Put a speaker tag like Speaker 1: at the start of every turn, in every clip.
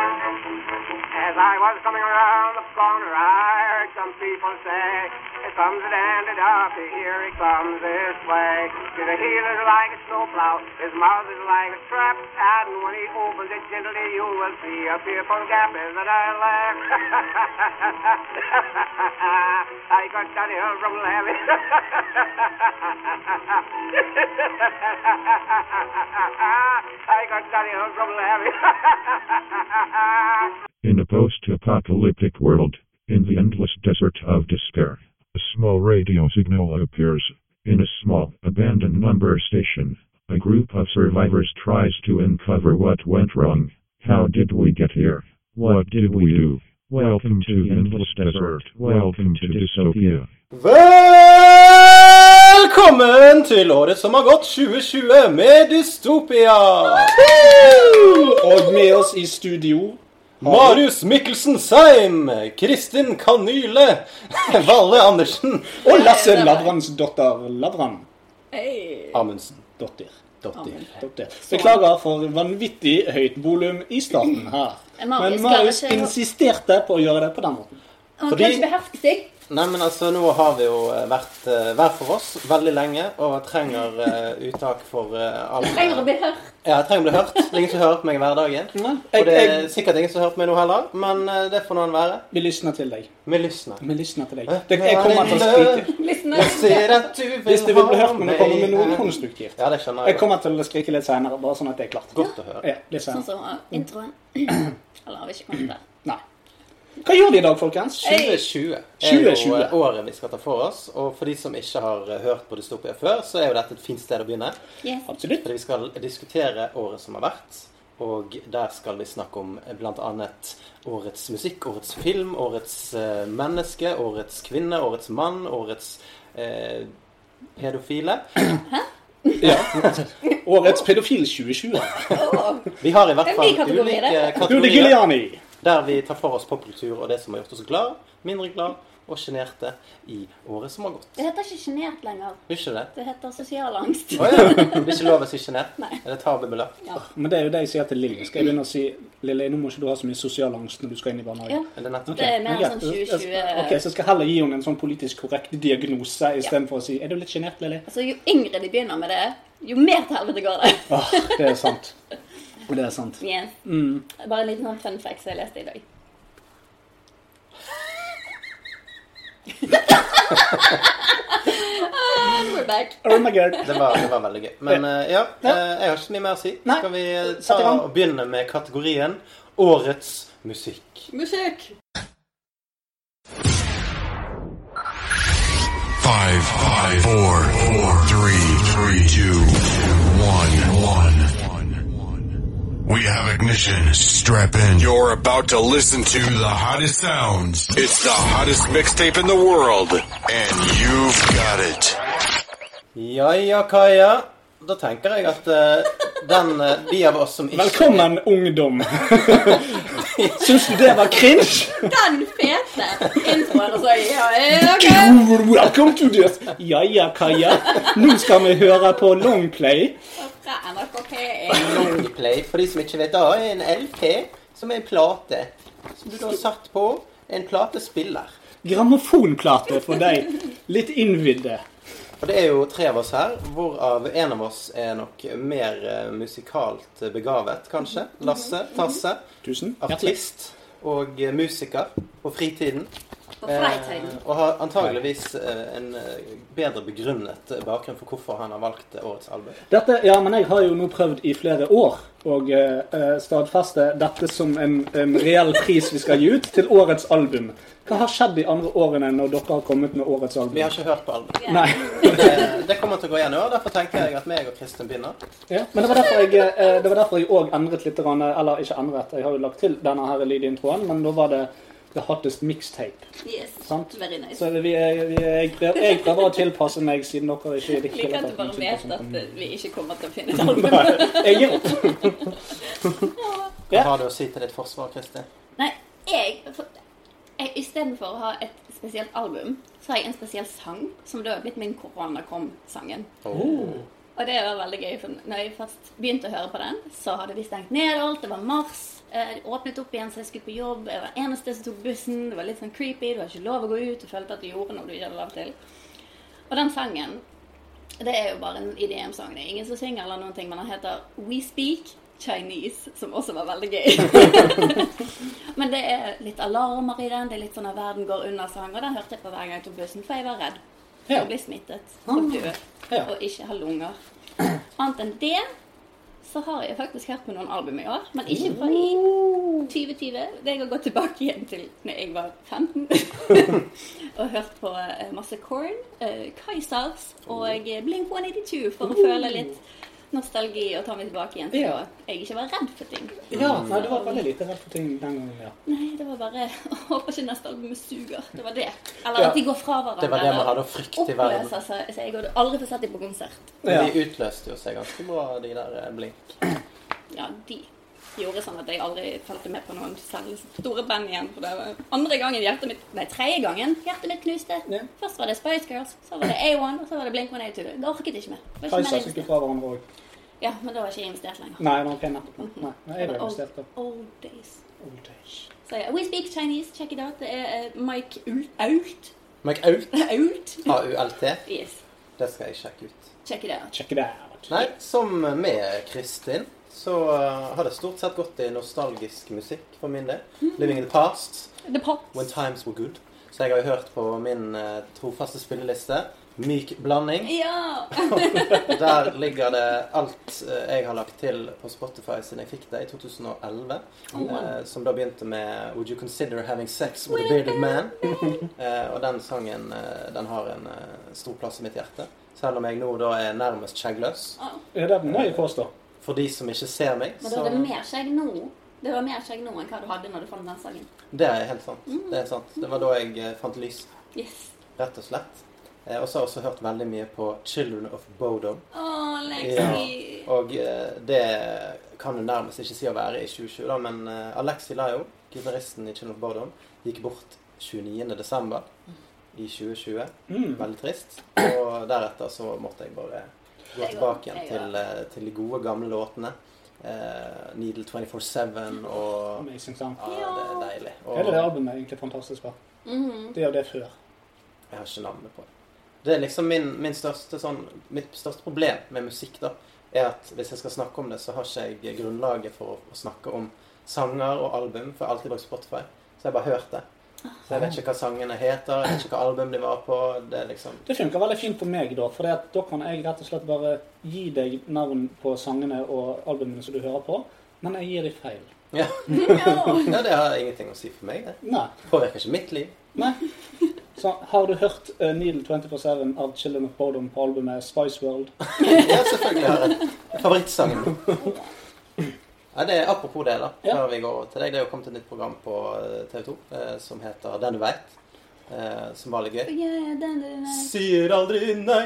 Speaker 1: As I was coming around the corner, I heard some people say, Here comes the dandy Duffy, here he comes this way. His heel is like a snowplow, his mouth is like a trap, and when he opens it gently, you will see a fearful gap in the dial lamp. I got that hill from Lammy. I got that hill from Lammy.
Speaker 2: In a post apocalyptic world, in the endless desert of despair, a small radio signal appears. In a small, abandoned number station, a group of survivors tries to uncover what went wrong. How did we get here? What did we do? Welcome to the endless desert. Welcome to dystopia.
Speaker 3: Velkommen til året som har gått 2020 med Dystopia! Og med oss i studio Marius Mikkelsen Seim, Kristin Kanyle, Valle Andersen
Speaker 4: Og Lasse Lavrans dotter Lavran.
Speaker 3: Amundsen.
Speaker 4: Dotter.
Speaker 3: Dotter.
Speaker 4: Dotter. Beklager for vanvittig høyt volum i starten her. Men
Speaker 5: Marius
Speaker 4: Marius
Speaker 5: klarer ikke å-
Speaker 4: insisterte på å gjøre det på den måten.
Speaker 5: Han
Speaker 3: Fordi-
Speaker 5: kan ikke beherske seg.
Speaker 3: Nei, men altså, nå har vi jo eh, vært eh, hver for oss veldig lenge og trenger eh, uttak for eh, all
Speaker 5: Trenger å bli hørt.
Speaker 3: Ja, jeg trenger å bli hørt. Det er ingen som hører på meg i hverdagen.
Speaker 4: Nei,
Speaker 3: Og
Speaker 4: jeg,
Speaker 3: det er
Speaker 4: jeg,
Speaker 3: sikkert ingen som hører på meg nå heller, men eh, det får noen være.
Speaker 4: vi lysner til deg.
Speaker 3: Vi lysner.
Speaker 4: Vi lysner til deg. Det, jeg kommer til å skrike.
Speaker 5: Listen,
Speaker 3: Jeg ser at du vil
Speaker 4: Hvis du vil bli
Speaker 3: ha
Speaker 4: hørt, men jeg kommer med noe
Speaker 3: meg.
Speaker 4: konstruktivt.
Speaker 3: Ja, det skjønner
Speaker 4: Jeg
Speaker 3: jeg.
Speaker 4: kommer til å skrike litt seinere, bare sånn at det er klart.
Speaker 3: Godt å høre.
Speaker 4: Ja, litt
Speaker 5: sånn
Speaker 4: senere.
Speaker 5: som uh, introen. Eller har vi ikke kommet der?
Speaker 4: Nei. Hva gjorde vi i dag, folkens?
Speaker 3: 2020 er jo
Speaker 4: 2020.
Speaker 3: eh, året vi skal ta for oss. Og for de som ikke har eh, hørt på Dystopia før, så er jo dette et fint sted å begynne.
Speaker 5: Yes.
Speaker 4: Absolutt.
Speaker 3: Fordi vi skal diskutere året som har vært. Og der skal vi snakke om bl.a. årets musikk, årets film, årets eh, menneske, årets kvinne, årets mann, årets eh, pedofile.
Speaker 4: Ja. Årets pedofil 2020.
Speaker 5: Åh,
Speaker 3: Vi har i hvert
Speaker 5: Det er
Speaker 3: fall
Speaker 5: mye kategorier,
Speaker 3: ulike
Speaker 5: det.
Speaker 4: Rudi
Speaker 3: kategorier
Speaker 4: Giuliani.
Speaker 3: der vi tar for oss popkultur og det som har gjort oss glad, mindre glad og sjenerte i året som har gått.
Speaker 5: det heter ikke sjenert lenger.
Speaker 3: Er ikke det?
Speaker 5: Det heter sosial angst.
Speaker 3: Å ja. Det er ikke lov å si sjenert?
Speaker 5: Nei.
Speaker 3: Er det tabubelagt?
Speaker 5: Ja.
Speaker 4: Men det er jo det jeg sier til Lilly. Skal jeg begynne å si Lilly, nå må ikke du ha så mye sosial angst når du skal inn i barnehagen.
Speaker 5: Ja.
Speaker 3: Er det nettopp
Speaker 5: Det er mer
Speaker 4: Ja,
Speaker 5: sånn
Speaker 4: jeg-
Speaker 5: 2020
Speaker 4: Ok, Så jeg skal heller gi henne en sånn politisk korrekt diagnose istedenfor å si Er du litt sjenert, Lilly?
Speaker 5: Altså, Jo yngre de begynner med det, jo mer til helvete går det.
Speaker 4: Åh, det er sant. Det er sant.
Speaker 5: Yes.
Speaker 4: Mm.
Speaker 5: Bare en liten sånn fun fact som jeg leste i dag. Ah, we're back.
Speaker 4: Oh my god.
Speaker 3: Det var, det var veldig gøy. Men eh, ja, eh, jeg har ikke så mye mer å si.
Speaker 4: Nei.
Speaker 3: Skal vi eh, ta
Speaker 4: Sett i gang.
Speaker 3: og begynne med kategorien Årets musikk?
Speaker 5: Musikk.
Speaker 6: Five, five, four, four, three, three, two, one, one. We have ignition. Strap in. You're about to listen to the hottest sounds. It's the hottest mixtape in the world. And you've got it.
Speaker 3: Ja ja, Kaja. Da tenker jeg at eh, den, eh, de av oss som ikke
Speaker 4: Velkommen, ungdom. Syns du det var cringe?
Speaker 5: Den fete introen, og så ja, ja, ok.
Speaker 4: Welcome to this. Ja ja, Kaja. Nå skal vi høre på Longplay.
Speaker 5: Fra NRK
Speaker 3: Longplay, for de som ikke vet det, er en LP, som er en plate. Som du da satt på en platespiller.
Speaker 4: Grammofonplate for deg. Litt innvidde.
Speaker 3: Og det er jo tre av oss her, hvorav en av oss er nok mer eh, musikalt begavet, kanskje. Lasse Tasse.
Speaker 4: Tusen hjertelig.
Speaker 3: Artist og eh, musiker på fritiden.
Speaker 5: På Freitagen.
Speaker 3: Eh, og har antageligvis eh, en eh, bedre begrunnet eh, bakgrunn for hvorfor han har valgt eh, årets album.
Speaker 4: Dette, ja, men jeg har jo nå prøvd i flere år å eh, eh, stadfeste dette som en, en reell pris vi skal gi ut til årets album. Hva har skjedd de andre årene når dere har kommet med årets album?
Speaker 3: Vi har ikke hørt på albumet.
Speaker 4: Nei.
Speaker 3: Det, det kommer til å gå igjen i år. Derfor tenker jeg at meg og Kristin begynner.
Speaker 4: Ja, men det var derfor jeg, eh, det var derfor jeg også endret litt, grann, eller ikke endret, jeg har jo lagt til denne her lydintroen, men da var det The Hottest Mixtape.
Speaker 5: Yes.
Speaker 4: Sant.
Speaker 5: Very nice.
Speaker 4: Så vi, er- vi, er- jeg, prøver, jeg prøver å tilpasse meg, siden dere ikke liker
Speaker 5: Liker at du
Speaker 4: dette
Speaker 5: bare vet
Speaker 4: tilpasset.
Speaker 5: at vi ikke kommer til å finne et album.
Speaker 4: Nei, jeg gir opp.
Speaker 3: Hva
Speaker 4: Ja.
Speaker 3: har du å si til ditt forsvar, Kristin?
Speaker 5: Nei, jeg, for, jeg Istedenfor å ha et spesielt album, så har jeg en spesiell sang, som da er blitt min koronakom-sangen. Og det var veldig gøy. For når jeg først begynte å høre på den, så hadde vi stengt ned alt. Det var mars. eh, Det åpnet opp igjen, så jeg skulle på jobb. Jeg var eneste som tok bussen. Det var litt sånn creepy. Du har ikke lov å gå ut. Du følte at du gjorde noe du ikke hadde lov til. Og den sangen, det er jo bare en IDM-sang. Det er ingen som synger eller noen ting, men den heter We Speak Chinese, som også var veldig gøy. Men det er litt alarmer i den. Det er litt sånn at verden går under-sang. Og den hørte jeg på hver gang jeg tok bussen, for jeg var redd for
Speaker 4: Ja. Ah.
Speaker 5: å bli smittet og dø
Speaker 4: Ja.
Speaker 5: og ikke ha lunger. Annet enn det så har jeg faktisk hørt på noen album i år, men ikke fra i
Speaker 4: Oh.
Speaker 5: 2020. Det går gått tilbake igjen til når jeg var 15 og hørt på eh, masse Korn, eh, Kaizers og eh, Blink 182 for å føle litt nostalgi og ta meg tilbake igjen til
Speaker 4: Oh. Ja.
Speaker 5: da jeg ikke var redd for ting.
Speaker 4: Ja, nei, det var veldig lite rett for ting den gangen, ja.
Speaker 5: Nei, det var bare å håpe ikke neste album suger. Det var det. Eller
Speaker 4: Ja.
Speaker 5: at de går fra hverandre.
Speaker 3: Det var det man hadde å frykte i verden.
Speaker 5: Oppløser seg. Så jeg hadde aldri fått sett dem på konsert.
Speaker 3: Men
Speaker 4: Ja.
Speaker 3: de utløste jo seg ganske bra, de der eh, Blink.
Speaker 5: Ja, de gjorde sånn at jeg aldri fulgte med på noen særlig store band igjen. For det var andre gangen hjertet mitt Nei, tredje gangen hjertet mitt knuste.
Speaker 4: Ja.
Speaker 5: Først var det Spice Girls, så var det A1, og så var det Blink 182. Det orket ikke mer. Det var ikke mer
Speaker 4: Kajsa skulle
Speaker 5: investert.
Speaker 4: fra hverandre òg.
Speaker 5: Ja, men da var ikke jeg investert lenger.
Speaker 4: Nei, den var pen. Nei, jeg ble
Speaker 5: Det var
Speaker 4: investert
Speaker 5: old,
Speaker 4: av
Speaker 5: old days.
Speaker 4: Old Age.
Speaker 5: Så ja, We Speak Chinese, check it out. Det er eh, Mike Ult. Ault.
Speaker 3: Mike Ault.
Speaker 5: Ault.
Speaker 3: A-U-L-T.
Speaker 5: Yes.
Speaker 3: Det skal jeg sjekke ut.
Speaker 5: Check it out.
Speaker 4: Check it out.
Speaker 3: Nei, som med Kristin så eh, har det stort sett gått i nostalgisk musikk for min del. 'Living in the Past'.
Speaker 5: The Pops.
Speaker 3: When times were good. Så jeg har jo hørt på min eh, trofaste spilleliste. Myk blanding.
Speaker 5: Ja!
Speaker 3: Der ligger det alt eh, jeg har lagt til på Spotify siden jeg fikk det i 2011. eh, som da begynte med 'Would you consider having sex with a bearded man?' Eh, og den sangen eh, den har en eh, stor plass i mitt hjerte. Selv om jeg nå da er nærmest skjeggløs.
Speaker 5: Å,
Speaker 4: Ja, det må jeg påstå.
Speaker 3: For de som ikke ser meg,
Speaker 5: Men da
Speaker 3: så
Speaker 5: er det mer skjegg nå. Det var mer skjegg nå enn hva du hadde når du fant den sangen.
Speaker 3: Det er helt sant.
Speaker 5: Mm.
Speaker 3: Det er sant. Det var da jeg eh, fant lys,
Speaker 5: Yes.
Speaker 3: rett og slett. Eh, og så har jeg også hørt veldig mye på 'Children of Bodom'.
Speaker 5: Å, Lexi.
Speaker 3: Ja, og eh, det kan du nærmest ikke si å være i 2020, da, men eh, Alexi Lyon, gitaristen i Children of Bodom, gikk bort 29. desember i 2020.
Speaker 4: Mm.
Speaker 3: Veldig trist. Og deretter så måtte jeg bare gå
Speaker 5: Jeg
Speaker 3: tilbake
Speaker 5: òg,
Speaker 3: igjen
Speaker 5: jeg
Speaker 3: til, eh, til de gode, gamle låtene. Eh, Needle 24-7 og
Speaker 4: Amazing Sound.
Speaker 3: ja, det er deilig. Og
Speaker 4: Hele det albumet er egentlig fantastisk bra.
Speaker 5: Mhm.
Speaker 4: Det og det før.
Speaker 3: jeg har ikke navnet på det. Det er liksom min, min største sånn Mitt største problem med musikk, da, er at hvis jeg skal snakke om det, så har ikke jeg grunnlaget for å, å snakke om sanger og album, for jeg har alltid brukt Spotify. Så jeg har bare hørt det. Så jeg vet ikke hva sangene heter, jeg vet ikke hva album de var på. Det er liksom
Speaker 4: Det funker veldig fint for meg, da. For da kan jeg rett og slett bare gi deg navn på sangene og albumene som du hører på, men jeg gir deg feil.
Speaker 3: Ja, ja det har ingenting å si for meg. Det
Speaker 4: Nei.
Speaker 3: påvirker ikke mitt liv.
Speaker 4: Nei. Så har du hørt uh, Needle 24-7 av Children of Bodom på albumet Spice World?
Speaker 3: Ja, selvfølgelig har jeg favorittsangen min. Ja, det er apropos det, da.
Speaker 4: Ja.
Speaker 3: Før vi går over til deg. Det er jo kommet et nytt program på TV 2 eh, som heter Den du veit. Eh, som var litt gøy.
Speaker 5: Ja, ja, den, den, den.
Speaker 3: Sier aldri nei.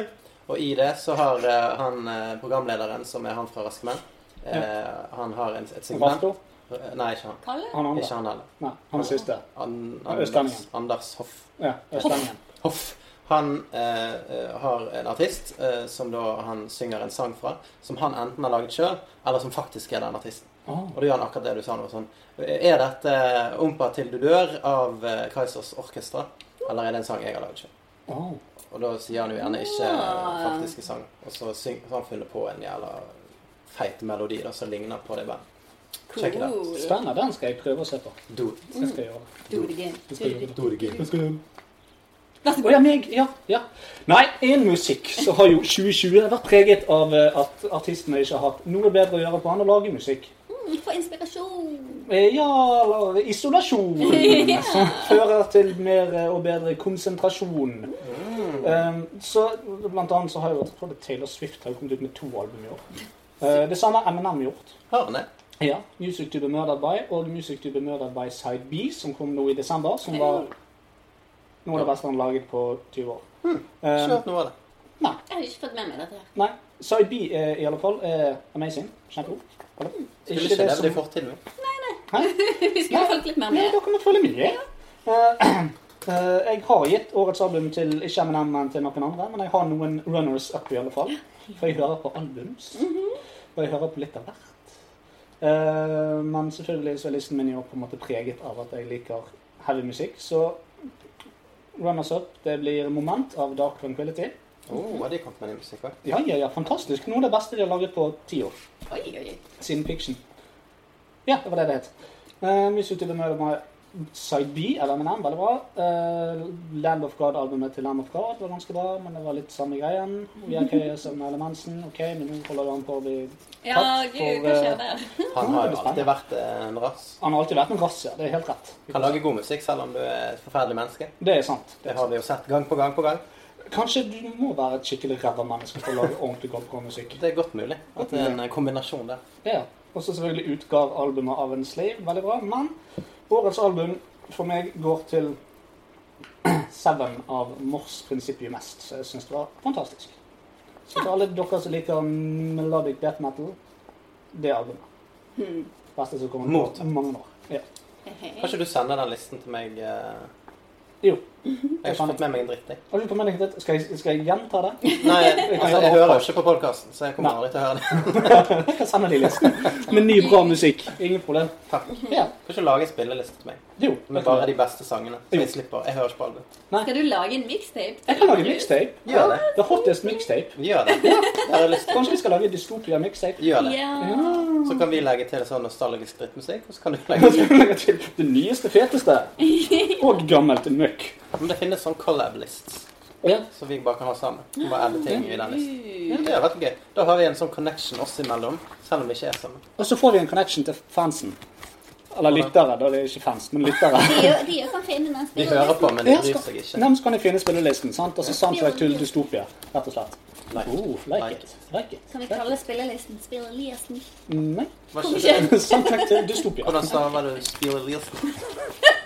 Speaker 3: Og i det så har eh, han eh, programlederen, som er han fra Raske menn, eh, han har en, et segment
Speaker 4: Varto?
Speaker 3: Eh, Nei, ikke han.
Speaker 5: Kalle?
Speaker 4: Han
Speaker 3: Ikke
Speaker 4: andre?
Speaker 3: han heller.
Speaker 4: Nei, han siste.
Speaker 3: An,
Speaker 4: Ja,
Speaker 3: Anders,
Speaker 4: Østlendingen.
Speaker 3: Anders Hoff.
Speaker 4: Ja, Østlendingen.
Speaker 3: Hoff. Han eh, eh, har en artist eh, som da han synger en sang fra, som han enten har laget sjøl, eller som faktisk er den artisten.
Speaker 4: Ah.
Speaker 3: Og da gjør han akkurat det du sa nå. Sånn. Er dette eh, 'Ompa til du dør' av eh, Kaizers Orkestra, eller er det en sang jeg har laget sjøl?
Speaker 4: Oh.
Speaker 3: Og da sier han jo gjerne ikke eh, faktiske sang, og så syng, så har han funnet på en jævla feit melodi da, som ligner på det bandet. Check it out.
Speaker 5: Cool.
Speaker 4: Spennende. Den skal jeg prøve å se på.
Speaker 3: Do it.
Speaker 4: Det skal jeg gjøre.
Speaker 5: Do it again.
Speaker 4: Det skal jeg gjøre.
Speaker 3: Do it again.
Speaker 4: Det skal jeg gjøre.
Speaker 5: Vær så
Speaker 4: Å
Speaker 5: god.
Speaker 4: ja, meg. Ja. ja. Nei, innen musikk så har jo 2020 vært preget av eh, at artistene ikke har hatt noe bedre å gjøre på enn å lage musikk.
Speaker 5: Mm, Få inspirasjon.
Speaker 4: Eh, Ja, eller isolasjon. Som fører til mer eh, og bedre konsentrasjon. Eh, så blant annet så har jo jeg tror det er Taylor Swift har jo kommet ut med to album i år. Eh, det samme har Eminem gjort.
Speaker 3: Hør ned.
Speaker 4: Ja. Music to be murdered by og Music to be murdered by Side B, som kom nå i desember. Som var noe av det beste han laget på 20 år. Eh,
Speaker 3: Ikke hørt noe av det.
Speaker 5: Jeg har ikke fått med meg dette her.
Speaker 4: Nei. Side B eh, i alle fall er amazing. Kjempegod. Eller?
Speaker 3: Skulle
Speaker 4: Ikke
Speaker 3: ikke
Speaker 4: det
Speaker 3: levd i
Speaker 4: som-
Speaker 3: fortiden min.
Speaker 5: Vi skulle fulgt litt mer
Speaker 4: Nei,
Speaker 5: med.
Speaker 4: dere må følge med. Eh, eh, jeg har gitt årets album til ikke Eminem, men til noen andre. Men jeg har noen runners up i alle fall. For jeg hører på albums. Og jeg hører på litt av hvert. Eh, men selvfølgelig så er listen min i år på en måte preget av at jeg liker heavy musikk. Så runners up det blir Moment av Dark Tranquility.
Speaker 3: Oh, har de kommet med ny musikk òg?
Speaker 4: Ja, ja, ja, fantastisk. Noe av det beste de har laget på ti år.
Speaker 5: Oi, oi, oi.
Speaker 4: Siden Fiction. Ja, det var det det het. Uh, Music to the Murder by Side B av Eminem, veldig bra. Eh, Land of God-albumet til Land of God var ganske bra, men det var litt samme greien. We are curious of Marilyn Manson. OK, men nå holder han på å bli
Speaker 5: Ja,
Speaker 4: tatt
Speaker 5: gud,
Speaker 4: for
Speaker 5: hva
Speaker 4: eh,
Speaker 5: skjer der?
Speaker 3: Han har jo alltid vært eh, en rass.
Speaker 4: Han har alltid vært en rass, ja. Det er helt rett.
Speaker 3: Kan lage god musikk selv om du er et forferdelig menneske.
Speaker 4: Det er sant.
Speaker 3: Det har vi jo sett gang på gang på gang.
Speaker 4: Kanskje du må være et skikkelig ræva menneske for å lage ordentlig god musikk.
Speaker 3: Det er godt mulig at det er en eh, kombinasjon der.
Speaker 4: Ja. Og så selvfølgelig utgav albumet av en slave. Veldig bra. Men årets album for meg går til Seven av Mors Principium Mest. Så jeg syns det var fantastisk. Så til alle dere som liker melodic death metal, det albumet. Beste som kommer
Speaker 3: Mottatt.
Speaker 4: på mange år. Ja.
Speaker 3: Kan ikke du sende den listen til meg? eh?
Speaker 4: Jo.
Speaker 3: Jeg har ikke fått med meg en dritt, jeg.
Speaker 4: Har du på meningen til- skal, jeg- skal jeg gjenta det?
Speaker 3: Nei, altså, jeg hører jo ikke på podkasten, så jeg kommer
Speaker 4: Nei.
Speaker 3: aldri til å høre det.
Speaker 4: Jeg kan sende de listen. Med ny, bra musikk. Ingen problem.
Speaker 3: Takk.
Speaker 4: Ja.
Speaker 3: Kan ikke du lage en spilleliste til meg
Speaker 4: Jo.
Speaker 3: med bare de beste sangene? Så jeg slipper. Jeg hører ikke på album.
Speaker 5: Skal du lage en mixtape?
Speaker 4: Jeg kan lage mixtape.
Speaker 3: Gjør det.
Speaker 4: The hottest mixtape.
Speaker 3: Gjør det. Det har jeg lyst til.
Speaker 4: Kanskje vi skal lage dystopia mixtape?
Speaker 3: Gjør det.
Speaker 5: Ja.
Speaker 3: Så kan vi legge til sånn nostalgisk drittmusikk, og så kan du
Speaker 4: Da
Speaker 3: legge
Speaker 4: skal vi legge til Det nyeste, feteste og gammelt møkk.
Speaker 3: Men det finnes sånn collab-lists
Speaker 4: Ja.
Speaker 3: som vi bare kan ha sammen. Og bare adde ting i den listen.
Speaker 5: Uh,
Speaker 3: Det er veldig gøy. Da har vi en sånn connection oss imellom, selv om vi ikke er sammen.
Speaker 4: Og så får vi en connection til fansen. Eller lyttere. da er det ikke fans, men lyttere.
Speaker 5: De gjør- de gjør kan finne den
Speaker 3: De hører på, men de
Speaker 4: Ja,
Speaker 3: bryr
Speaker 4: skal-
Speaker 3: seg ikke.
Speaker 4: Hvem skal jeg finne spillelisten? sant? Altså soundtrack til dystopia, rett og slett. Oh, like it. Like it.
Speaker 5: Kan vi kalle spillelisten Spillelisten?
Speaker 4: Nei.
Speaker 3: Hva
Speaker 5: Hvorfor
Speaker 3: skjer?
Speaker 5: ikke?
Speaker 4: Soundtrack til dystopia.
Speaker 3: Hvordan staver du spillelisten?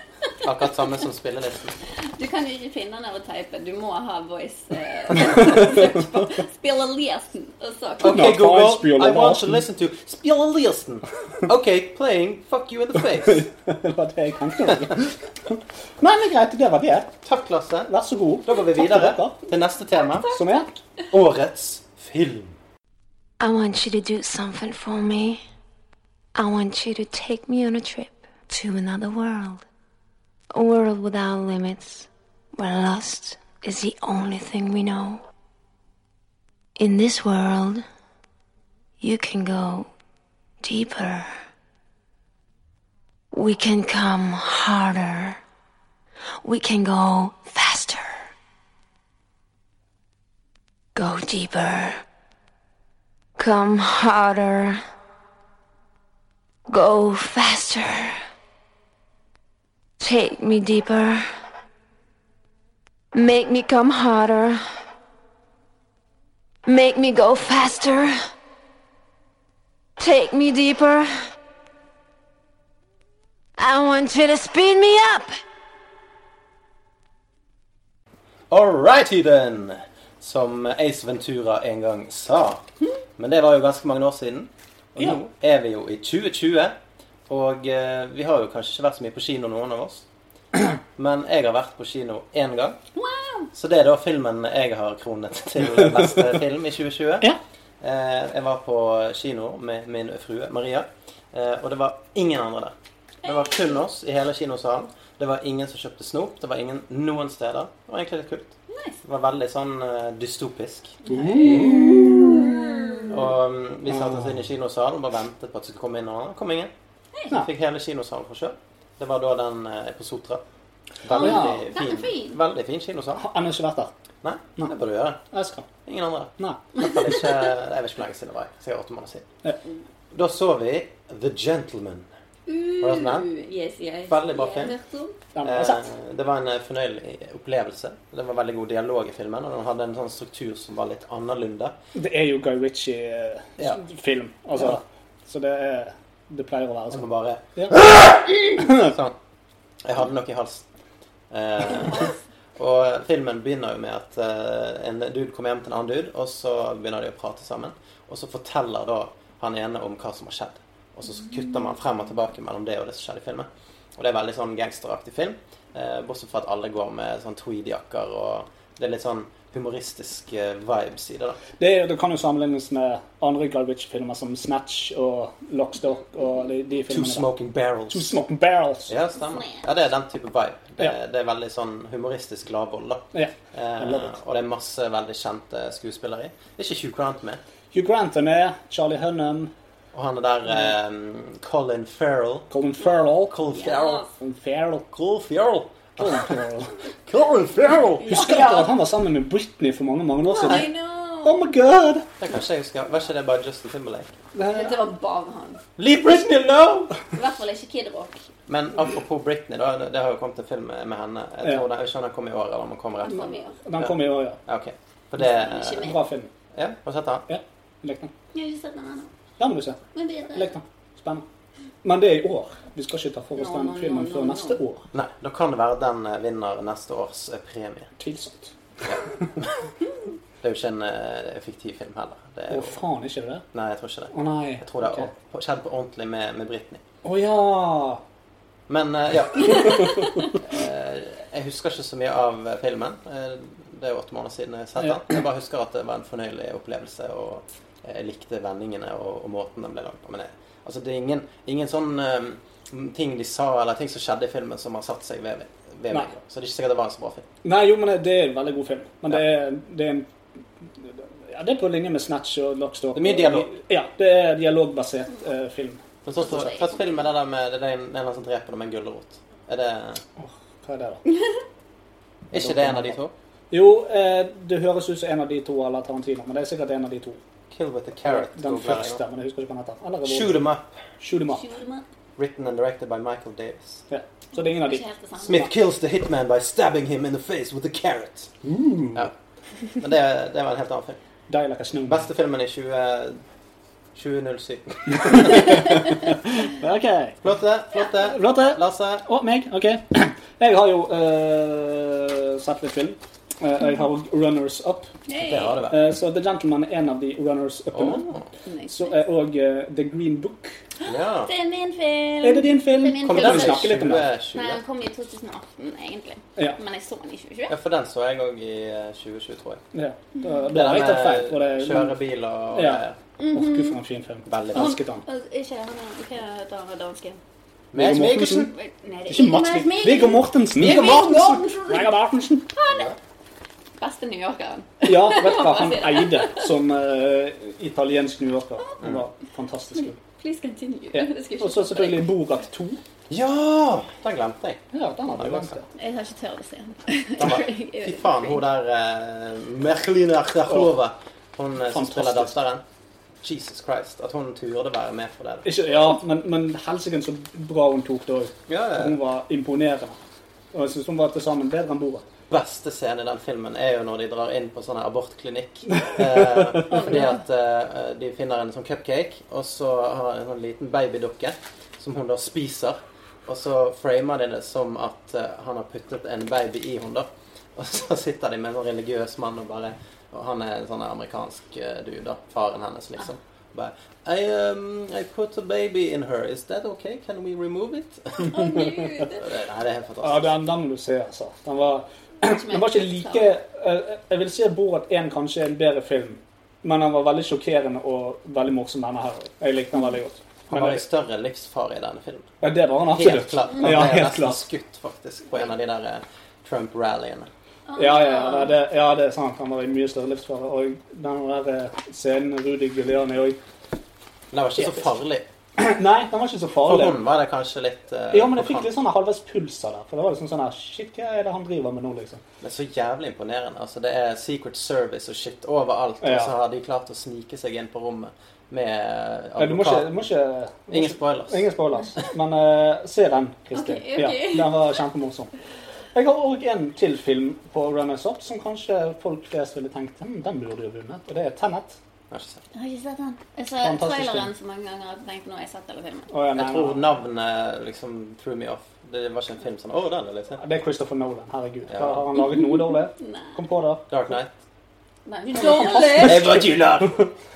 Speaker 3: Akkurat samme som spillelisten.
Speaker 5: Du kan jo ikke finne den over type. Du må ha voice eh, søk på Spillelisten. Og så
Speaker 3: Ok,
Speaker 4: Nå, faen,
Speaker 3: Google, I
Speaker 4: spillelisten.
Speaker 3: want to listen to spillelisten. Ok, playing fuck you in the face.
Speaker 4: Det var det jeg tenkte. Nei, men greit. Det var det.
Speaker 3: Takk, Lasse.
Speaker 4: Vær så god.
Speaker 3: Da går vi
Speaker 4: Takk til
Speaker 3: videre
Speaker 4: dere.
Speaker 3: til neste tema.
Speaker 4: Som er
Speaker 3: Årets film.
Speaker 7: I want you to do something for me. I want you to take me on a trip to another world. A world without limits, where lust is the only thing we know. In this world, you can go deeper. We can come harder. We can go faster. Go deeper. Come harder. Go faster. Take me deeper. Make me come harder. Make me go faster. Take me deeper. I want you to speed me up.
Speaker 3: Alrighty then, som Ace Ventura en gang sa. Men det var jo ganske mange år siden. Og
Speaker 4: Ja.
Speaker 3: nå er vi jo i 2020. Og eh, vi har jo kanskje ikke vært så mye på kino, noen av oss. Men jeg har vært på kino én gang.
Speaker 5: Wow!
Speaker 3: Så det er da filmen jeg har kronet til beste film i 2020.
Speaker 4: Ja.
Speaker 3: Eh, jeg var på kino med min frue Maria, eh, og det var ingen andre der. Det var kun oss i hele kinosalen. Det var ingen som kjøpte snop. Det var ingen noen steder. Det var egentlig litt kult.
Speaker 5: Nice.
Speaker 3: Det var veldig sånn eh, dystopisk. Og um, vi satte oss inn i kinosalen bare ventet på at det skulle komme inn noen. Det kom ingen.
Speaker 4: Nei.
Speaker 3: Fikk hele kinosalen for sjøl. Det var da den eh, på Sotra. Veldig,
Speaker 4: Ah,
Speaker 5: veldig
Speaker 3: fin,
Speaker 5: fin.
Speaker 3: veldig fin kinosal.
Speaker 4: Har ennå ikke vært der.
Speaker 3: Nei, det bør du gjøre.
Speaker 4: Jeg skal.
Speaker 3: Ingen andre.
Speaker 4: Nei.
Speaker 3: I hvert fall ikke Jeg vet ikke hvor lenge siden det var. Sikkert åtte måneder
Speaker 4: Ja.
Speaker 3: siden. Da så vi The Gentleman. Var det sånn?
Speaker 5: Uh, yes, yes.
Speaker 3: Veldig bra film.
Speaker 5: Hørt om?
Speaker 4: Den har jeg sett.
Speaker 3: Eh, Det var en eh, fornøyelig opplevelse. Det var veldig god dialog i filmen, og den hadde en sånn struktur som var litt annerledes.
Speaker 4: Det er jo Guy
Speaker 3: Ja.
Speaker 4: Ritchie-film. Altså, Så det er Det pleier å være
Speaker 3: Som
Speaker 4: sånn.
Speaker 3: bare
Speaker 4: Ja.
Speaker 3: Sånn. Jeg hadde noe i halsen. Eh, og filmen begynner jo med at eh, en dude kommer hjem til en annen dude, og så begynner de å prate sammen. Og så forteller da han ene om hva som har skjedd. Og så kutter man frem og tilbake mellom det og det som skjedde i filmen. Og det er veldig sånn gangsteraktig film, eh, bortsett fra at alle går med sånn tweedjakker og Det er litt sånn humoristisk eh, vibes i det, da.
Speaker 4: Det, er- det kan jo sammenlignes med andre Guy Ritchie-filmer som Snatch og Lockstock og de, de
Speaker 3: Two
Speaker 4: filmene. der.
Speaker 3: smoking barrels.
Speaker 4: Two Smoking Barrels.
Speaker 3: Ja, stemmer. Ja, det er den type vibe. Det,
Speaker 4: Ja.
Speaker 3: det er veldig sånn humoristisk gladvold, da.
Speaker 4: Ja.
Speaker 3: Eh,
Speaker 4: love it.
Speaker 3: og det er masse veldig kjente skuespillere i. Det er ikke Hugh Grant med.
Speaker 4: Hugh Grant er med. Charlie Hunnam.
Speaker 3: Og han er der eh, Colin Farrell.
Speaker 4: Colin Farrell.
Speaker 3: Colin Farrell.
Speaker 4: Colin Farrell.
Speaker 3: Colin Farrell.
Speaker 4: Colin Farrell.
Speaker 3: Colin Farrell!
Speaker 4: Husker dere at han var sammen med Britney for mange mange år
Speaker 5: I
Speaker 4: siden?
Speaker 5: know.
Speaker 4: Oh my god!
Speaker 3: Det kan ikke jeg huske. Var ikke det bare Justin Timberlake?
Speaker 5: Dette var bare han.
Speaker 3: Leave Britney alone!
Speaker 5: I hvert fall ikke Kid Rock.
Speaker 3: Men apropos Britney, da. Det, det har jo kommet en film med henne. Jeg
Speaker 4: Ja.
Speaker 3: tror den, jeg skjønner den kom i år, eller om den kommer rett
Speaker 5: Mamma
Speaker 3: før.
Speaker 5: mia.
Speaker 4: Den kom i år, ja.
Speaker 3: Ja, ok. For det
Speaker 5: Ikke med.
Speaker 4: Bra film.
Speaker 3: Ja, har du sett den?
Speaker 4: Ja, jeg likte den.
Speaker 5: Jeg har ikke sett den ennå.
Speaker 4: Den må du se.
Speaker 5: Men
Speaker 4: Jeg
Speaker 5: bedre.
Speaker 4: likte den. Spennende. Men det er i år. Vi skal ikke ta for oss
Speaker 5: No,
Speaker 4: den
Speaker 5: no, no,
Speaker 4: filmen
Speaker 5: no,
Speaker 4: før
Speaker 5: no.
Speaker 4: neste år.
Speaker 3: Nei. Da kan det være den eh, vinner neste års eh, premie.
Speaker 4: Tvilsomt.
Speaker 3: Det er jo ikke en eh, fiktiv film heller. Det er
Speaker 4: Å,
Speaker 3: jo...
Speaker 4: faen, ikke det det?
Speaker 3: Nei, jeg tror ikke det.
Speaker 4: Å nei.
Speaker 3: Jeg tror det har
Speaker 4: Ok.
Speaker 3: opp- skjedd på ordentlig med, med Britney.
Speaker 4: Å ja!
Speaker 3: Men eh, ja. Eh, jeg husker ikke så mye av eh, filmen. Eh, det er jo åtte måneder siden jeg har sett
Speaker 4: Ja.
Speaker 3: den. Jeg bare husker at det var en fornøyelig opplevelse, og eh, jeg likte vendingene og, og måten den ble lagd på. Men jeg, altså, det er ingen, ingen sånn eh, ting de sa, eller ting som skjedde i filmen, som har satt seg ved, ved
Speaker 4: Nei.
Speaker 3: meg. Så det er ikke sikkert det var en så bra film.
Speaker 4: Nei, jo, men det- det er en veldig god film. Men det, er, det er en ja, det er på linje med Snatch og Lockstock.
Speaker 3: Det er mye dialog.
Speaker 4: Ja, det er en dialogbasert eh, film.
Speaker 3: Men så for, for et film er det der med det er en, en eller annen som dreper dem med en gulrot. Er det
Speaker 4: Hva er det, da?
Speaker 3: er ikke det en av de to?
Speaker 4: Jo, eh, det høres ut som en av de to eller Tarantino, men det er sikkert en av de to.
Speaker 3: Kill with a carrot.
Speaker 4: Den første, men jeg husker ikke hva den heter. Eller Revolver.
Speaker 3: Shoot 'em up.
Speaker 4: Shoot 'em up.
Speaker 5: Kjolmann.
Speaker 3: Written and directed by Michael Davis.
Speaker 4: Ja. Så det er ingen av de.
Speaker 5: Ikke helt det samme.
Speaker 3: Smith kills the hitman by stabbing him in the face with a carrot. Ja. Men det, det var en helt annen film.
Speaker 4: Die like a snowman.
Speaker 3: Beste filmen i 20, 2007.
Speaker 4: Ok.
Speaker 3: Flott det. Flott det.
Speaker 4: Flott, det.
Speaker 3: Lasse.
Speaker 4: Og meg. OK. Jeg har jo eh, sett litt film. Eh, jeg har også runners up.
Speaker 5: Hey.
Speaker 3: Det har det vært.
Speaker 4: Eh, så The Gentleman er en av de runners up-ene.
Speaker 3: Åh,
Speaker 5: Nice.
Speaker 4: Så eh, er òg The Green Book.
Speaker 3: ja.
Speaker 5: Det er min film.
Speaker 4: Er det din film?
Speaker 5: Det er min
Speaker 4: Kan
Speaker 5: film.
Speaker 4: vi
Speaker 3: Den
Speaker 4: snakke litt om den?
Speaker 3: er 2020.
Speaker 5: Nei, den kom i 2018, egentlig.
Speaker 4: Ja.
Speaker 5: Men jeg så den i 2020.
Speaker 3: Ja, for den så jeg òg i eh, 2020, tror jeg.
Speaker 4: ja. Da,
Speaker 3: Det
Speaker 4: da
Speaker 3: der
Speaker 4: har jeg tatt feil.
Speaker 3: med
Speaker 4: For det,
Speaker 3: kjøre bil og
Speaker 4: Ja.
Speaker 3: eh,
Speaker 5: Mhm.
Speaker 4: Åh, Gud, for en fin film.
Speaker 3: Veldig bra.
Speaker 4: Elsket den.
Speaker 5: Og Ikke han er- Hva heter han danske?
Speaker 3: Mads
Speaker 4: Viggo
Speaker 3: Mikkelsen.
Speaker 4: Mortensen.
Speaker 5: Nei, det er
Speaker 4: Ikke Mats
Speaker 5: Mads
Speaker 4: Mikkelsen.
Speaker 5: Mikkelsen.
Speaker 4: Viggo Mortensen.
Speaker 5: Viggo Mortensen.
Speaker 4: Viggo Mortensen.
Speaker 5: Beste New Yorkeren.
Speaker 4: Ja, vet du hva han eide som eh, italiensk New Yorker. Han var fantastisk kul.
Speaker 5: Please continue.
Speaker 4: Ja.
Speaker 5: Det skal ikke
Speaker 4: Og så selvfølgelig Borat 2.
Speaker 3: Ja! Den glemte jeg.
Speaker 4: Ja, den hadde jeg
Speaker 3: Ja,
Speaker 4: glemt. ja.
Speaker 5: Jeg har ikke tørt å se den.
Speaker 3: Den var- Fy faen, hun der uh, Merlina Khrachlova, hun eh, som
Speaker 4: Fantastisk.
Speaker 3: spiller datteren. Jesus Christ, at hun turde være med på det. da.
Speaker 4: Ikke, ja, men, men helsike så bra hun tok det òg.
Speaker 3: Ja, ja.
Speaker 4: Hun var imponerende. Og jeg syns hun var til sammen bedre enn Borat.
Speaker 3: Beste scene i den filmen er jo når de drar inn på sånn abortklinikk. Eh, fordi at eh, de finner en sånn cupcake, og så har en sånn liten babydukke som hun da spiser. Og så framer de det som at eh, han har puttet en baby i henne, da. Og så sitter de med en sånn religiøs mann og bare Og han er en sånn amerikansk eh, dude, da. Faren hennes, liksom. Bare I, um, I put a baby in her. Is that okay? Can we remove it?
Speaker 5: Å, Gud.
Speaker 3: Nei, det er helt fantastisk.
Speaker 4: Ja, den, den må du se, altså. Den var, den var ikke like eh, Jeg vil si at Borat 1 kanskje er en bedre film, men den var veldig sjokkerende og veldig morsom, denne her. Jeg likte den veldig godt.
Speaker 3: Han var liksom- i større livsfare i denne filmen.
Speaker 4: Ja, det var han
Speaker 3: Helt
Speaker 4: absolutt.
Speaker 3: klart. Han
Speaker 4: Ja,
Speaker 3: ble
Speaker 4: helt
Speaker 3: nesten sånn.
Speaker 4: klart.
Speaker 3: skutt faktisk på en av de der eh, Trump-rallyene.
Speaker 4: Ja, ja, ja, det, ja, det er sant. Han var i mye større livsfare. Og den der eh, scenen med Rudi Guliani òg
Speaker 3: Men det var ikke så farlig.
Speaker 4: Nei, den var ikke så
Speaker 3: For
Speaker 4: farlig.
Speaker 3: hun var det kanskje litt eh,
Speaker 4: Ja, men jeg
Speaker 3: på
Speaker 4: fikk litt
Speaker 3: kant.
Speaker 4: sånn halvveis puls av det. For det var liksom sånn her Shit, hva er det han driver med nå, liksom?
Speaker 3: Men så jævlig imponerende. Altså, det er Secret Service og shit overalt,
Speaker 4: Ja.
Speaker 3: og så har de klart å snike seg inn på rommet med eh,
Speaker 4: Nei, Du må ikke,
Speaker 3: advokat.
Speaker 4: du må ikke du må
Speaker 3: Ingen
Speaker 4: ikke-
Speaker 3: spoilers.
Speaker 4: Ingen spoilers. Men eh, se den, Kristin.
Speaker 5: Ok, ok.
Speaker 4: Ja, den var kjempemorsom. Jeg har òg en til film på Runners Up som kanskje folk flest ville tenkt hm, den burde jo vunnet. Og det er Tenet.
Speaker 3: Jeg har ikke sett.
Speaker 5: Jeg har ikke sett den. Jeg så
Speaker 4: Fantastisk
Speaker 5: traileren
Speaker 4: film.
Speaker 5: så mange ganger at jeg tenkte nå har jeg sett hele filmen.
Speaker 4: Og jeg
Speaker 3: Jeg
Speaker 4: mener-
Speaker 3: tror navnet liksom threw me off. Det var ikke en film sånn Å, den vil jeg se.
Speaker 4: Det er Christopher Nolan. Herregud.
Speaker 3: Ja.
Speaker 4: Har han laget noe dårlig? Kom på det.
Speaker 3: Dark Knight.
Speaker 5: Nei, du er dårlig!
Speaker 3: Jeg var Julian!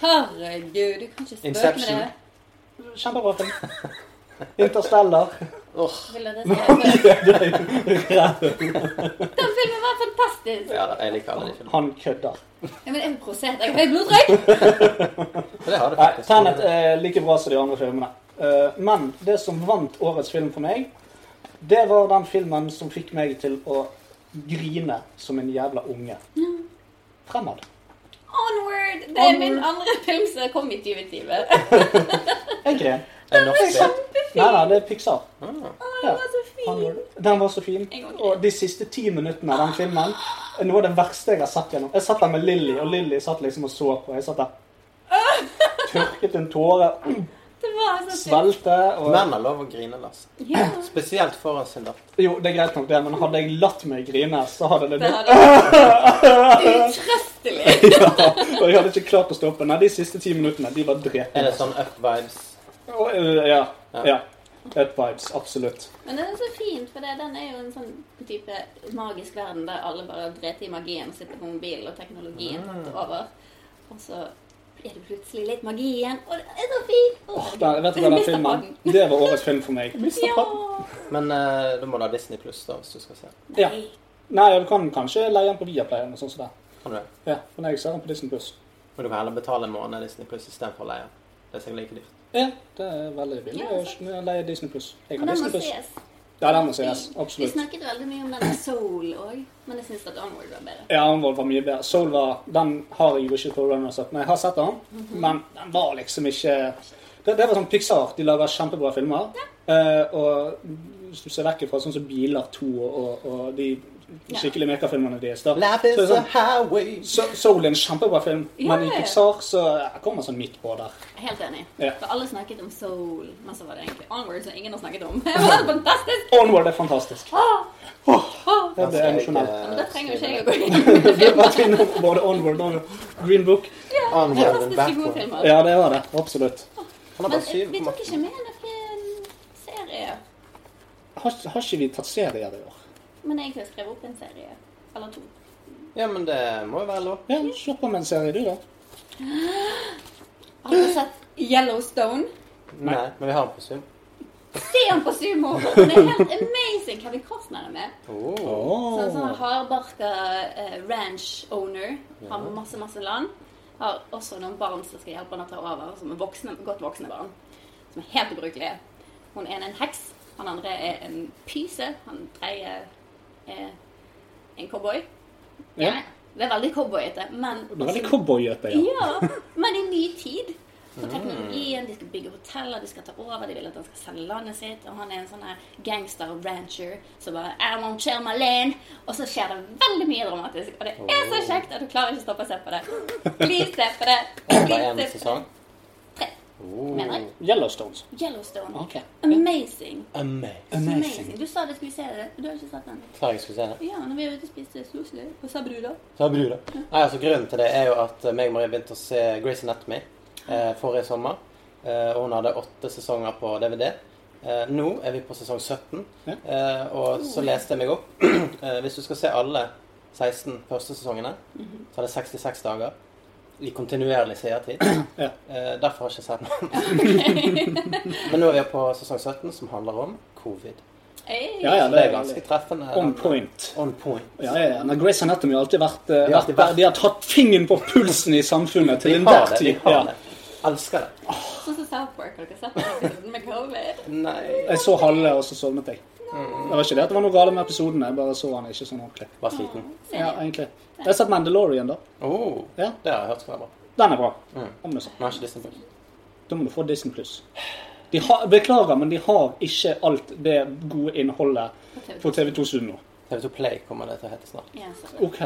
Speaker 5: Herregud, du kan ikke spøke med
Speaker 3: Inception.
Speaker 5: det.
Speaker 4: Kjempebra film. Interstellar.
Speaker 5: Vil dere se- Den filmen var fantastisk!
Speaker 3: Ja, da, jeg liker alle de filmene.
Speaker 4: Han kødder.
Speaker 5: Ja, men jeg provoserte. Jeg har høyt blodtrykk!
Speaker 3: Så det har det
Speaker 4: Nei,
Speaker 3: faktisk.
Speaker 4: Tenet er like bra som de andre filmene. Eh, Men det som vant årets film for meg, det var den filmen som fikk meg til å grine som en jævla unge. Fremad.
Speaker 5: Onward! Det er min
Speaker 4: Onward.
Speaker 5: andre film som kom i 2020.
Speaker 4: Jeg gren.
Speaker 3: En norsk film.
Speaker 4: Nei, nei, det er Pixar.
Speaker 5: Å,
Speaker 4: Ja.
Speaker 5: den var så fin!
Speaker 4: Han- Den var så fin.
Speaker 5: En gang til.
Speaker 4: Og de siste ti minuttene av den filmen er noe av det verste jeg har sett gjennom. Jeg satt der med Lilly, og Lilly satt liksom og så på. Jeg satt der tørket en tåre,
Speaker 5: Det var så fint.
Speaker 4: svelgte og
Speaker 3: Menn har lov å grine, Lars.
Speaker 5: Ja,
Speaker 3: Spesielt foran sin datter.
Speaker 4: Jo, det er greit nok, det, men hadde jeg latt meg grine, så hadde det
Speaker 5: det
Speaker 4: blitt
Speaker 5: hadde vært utrøstelig.
Speaker 4: Og jeg hadde ikke klart å stoppe. Nei, de siste ti minuttene, de var
Speaker 3: Er det
Speaker 4: drepende.
Speaker 3: sånn up vibes?
Speaker 4: Og, øh, Ja.
Speaker 3: Ja.
Speaker 4: ja. Up vibes, absolutt.
Speaker 5: Men det er så fint, for det, den er jo en sånn type magisk verden der alle bare driter i magien og sitter på mobilen, og teknologien
Speaker 4: Ah.
Speaker 5: tatt over. Og så er det plutselig litt magi igjen, og det er så fint! Åh,
Speaker 4: Da, vet du hva den
Speaker 5: Mr.
Speaker 4: filmen
Speaker 5: Podden.
Speaker 4: Det var årets film for meg. Mr.
Speaker 5: Ja!
Speaker 4: Podden.
Speaker 3: Men eh, da må du ha Disney Pluss, da, hvis du skal se.
Speaker 4: Ja.
Speaker 5: Nei.
Speaker 4: Nei, du kan kanskje leie den på Viaplay eller noe sånt som det.
Speaker 3: Kan du det?
Speaker 4: Ja, men jeg ser den på Disney Plus.
Speaker 3: Men du kan heller betale en måned Disney Plus istedenfor å leie. Det er sikkert like dyrt.
Speaker 4: Ja, det er veldig billig
Speaker 5: Ja,
Speaker 4: å
Speaker 5: sant.
Speaker 4: leie Disney Plus. Jeg
Speaker 5: Men
Speaker 4: har
Speaker 5: den
Speaker 4: Disney
Speaker 5: må
Speaker 4: Plus.
Speaker 5: ses.
Speaker 4: Ja, den må ses.
Speaker 5: Vi
Speaker 4: Absolutt.
Speaker 5: snakket veldig mye om den Soul òg, men jeg syns at Onward var bedre.
Speaker 4: Ja, Unvold var mye bedre. Soul var, den har jeg jo ikke på Runners Up, men jeg har sett den.
Speaker 5: Mhm.
Speaker 4: Men den var liksom ikke Det, det var sånn Pixar. De lager kjempebra filmer. Eh, og hvis du ser vekk fra sånn som Biler 2 og, og, og de skikkelig mekafilmene deres, da
Speaker 3: Life
Speaker 4: så er
Speaker 3: is
Speaker 4: det
Speaker 3: a
Speaker 4: sånn,
Speaker 3: highway.
Speaker 4: so, Soul er en kjempebra film,
Speaker 5: Ja,
Speaker 4: men i
Speaker 5: ja.
Speaker 4: Pixar så jeg kommer sånn midt på der.
Speaker 5: Helt enig.
Speaker 4: Ja.
Speaker 5: For alle snakket om Soul, men så var det egentlig Onward som ingen har snakket om. Det var fantastisk!
Speaker 4: Onward er fantastisk.
Speaker 5: Åh,
Speaker 4: Det
Speaker 5: åh.
Speaker 4: ble
Speaker 3: Skal jeg,
Speaker 4: emosjonelt.
Speaker 5: Ja,
Speaker 3: eh,
Speaker 5: Men da trenger jo ikke
Speaker 3: skrive
Speaker 5: jeg å
Speaker 3: det?
Speaker 5: gå inn.
Speaker 4: Vi har vært innom både Onward og Green Book.
Speaker 3: Onward and
Speaker 5: Fantastisk gode
Speaker 3: backward.
Speaker 5: filmer.
Speaker 4: Ja, det var det. Absolutt.
Speaker 3: Han har
Speaker 5: Men
Speaker 3: bare
Speaker 5: eh, vi tok
Speaker 3: 7,8.
Speaker 5: ikke med noen serier.
Speaker 4: Har, har ikke vi tatt serier i år?
Speaker 5: Men jeg har skrevet opp en serie. Eller to.
Speaker 3: Ja, men det må jo være lov.
Speaker 4: Ja, Kjør på med en serie, du, da.
Speaker 5: Har dere sett Yellowstone?
Speaker 3: Nei, men vi har den på Zoom.
Speaker 5: Se den på sumo! Det er helt amazing. Kevin Costner er med.
Speaker 3: Oh.
Speaker 5: Sånn sånn hardbarka eh, ranch-owner. Har masse, masse land. Har også noen barn som skal hjelpe henne å ta over, som er voksne, godt voksne barn. Som er helt ubrukelige. Hun ene er en heks, han andre er en pyse, han tredje er en cowboy.
Speaker 4: Ja.
Speaker 5: Det er veldig cowboyete, men
Speaker 4: Det var litt cowboyete, ja.
Speaker 5: ja, men i mye tid. For teknologien, de skal bygge hoteller, de skal ta over, de vil at han skal selge landet sitt. Og han er en sånn her gangster-rancher som bare I won't share my land. Og så skjer det veldig mye dramatisk. Og det er så kjekt at du klarer ikke å stoppe å se på det. Please se på det.
Speaker 3: Bare én
Speaker 5: Please se på det.
Speaker 3: sesong.
Speaker 5: Tre, mener jeg.
Speaker 4: Yellowstones.
Speaker 5: Yellowstone.
Speaker 4: Ok.
Speaker 5: Amazing.
Speaker 3: Oh. Amazing.
Speaker 5: Amazing. Du sa vi skulle se det. Du har ikke sett den?
Speaker 3: Sa jeg skulle se det.
Speaker 5: Ja, når vi var ute og spiste sloselig, hva sa du da?
Speaker 3: Så har brura. Nei, altså Grunnen til det er jo at eh, meg og Marie begynte å se Grace Anatomy eh, forrige sommer. Eh, og hun hadde åtte sesonger på DVD. Eh, nå er vi på sesong 17. Eh, og så leste jeg meg opp. eh, hvis du skal se alle 16 første sesongene, så er det 66 dager i kontinuerlig seertid.
Speaker 4: Ja.
Speaker 3: Eh, derfor har jeg ikke sett noen. Men nå er vi på sesong 17, som handler om covid.
Speaker 5: Hey.
Speaker 4: Ja, ja,
Speaker 3: Så det er ganske treffende.
Speaker 4: On point.
Speaker 3: On point.
Speaker 4: Ja, ja, ja. Men Grace Anatomy har alltid vært, eh,
Speaker 3: har alltid
Speaker 4: vært der.
Speaker 3: vært-
Speaker 4: De har tatt fingeren på pulsen i samfunnet til
Speaker 3: Vi har
Speaker 4: enhver
Speaker 3: det. Vi
Speaker 4: tid.
Speaker 3: har
Speaker 4: Ja.
Speaker 3: det. Elsker det.
Speaker 5: Sånn som South Park. Har dere sett den episoden med covid?
Speaker 3: Nei.
Speaker 4: Jeg så halve, og så sovnet jeg.
Speaker 3: Mm.
Speaker 4: Det var ikke det at det var noe galt med episoden, jeg bare så han ikke sånn ordentlig.
Speaker 3: Var sliten.
Speaker 4: Ja, egentlig. Jeg har sett Mandalorian, da.
Speaker 3: Oh,
Speaker 4: Ja.
Speaker 3: Det har jeg hørt skal være bra.
Speaker 4: Den er bra.
Speaker 3: Mm.
Speaker 4: Anmeldelsen.
Speaker 3: Men jeg har ikke Disney Plus.
Speaker 4: Da må du få Disney Pluss. De har, beklager, men de har ikke alt det gode innholdet på TV2 Sud nå.
Speaker 3: TV2 Play kommer det til å hete snart.
Speaker 5: Ja, så-
Speaker 4: OK.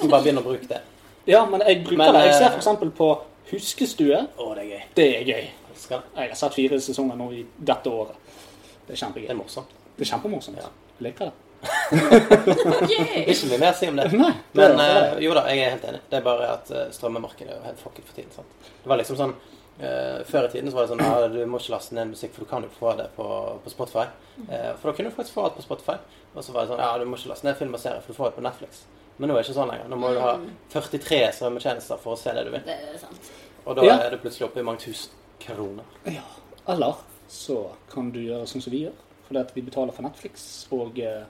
Speaker 3: Så bare begynn å bruke det.
Speaker 4: Ja, men jeg bruker
Speaker 3: Men,
Speaker 4: det. Jeg ser
Speaker 3: eh,
Speaker 4: f.eks. på Huskestue.
Speaker 3: Å, det er gøy.
Speaker 4: Det er gøy.
Speaker 3: Elsker det.
Speaker 4: Jeg har sett fire sesonger nå i dette året. Det er kjempegøy.
Speaker 3: Det er morsomt.
Speaker 4: Det er kjempemorsomt. Jeg liker det.
Speaker 5: Yay!
Speaker 3: Ikke mye mer å si om det.
Speaker 4: Nei, det
Speaker 3: Men
Speaker 4: er-
Speaker 3: eh, jo da, jeg er helt enig. Det er bare at eh, strømmemarkedet er jo helt fucket for tiden. sant? Det var liksom sånn eh, Før i tiden så var det sånn ja, du må ikke laste ned musikk, for du kan jo få det på, på Spotify. Eh, for da kunne du faktisk få alt på Spotify. Og så var det sånn ja, du må ikke laste ned film og serie, for du får det på Netflix. Men nå er det ikke sånn lenger. Nå må du ha 43 strømmetjenester for å se det du vil.
Speaker 5: Det er sant.
Speaker 3: Og da
Speaker 4: Ja.
Speaker 3: er du plutselig oppe i mange tusen kroner.
Speaker 4: Ja. Eller så kan du gjøre sånn som vi gjør, fordi at vi betaler for Netflix og eh,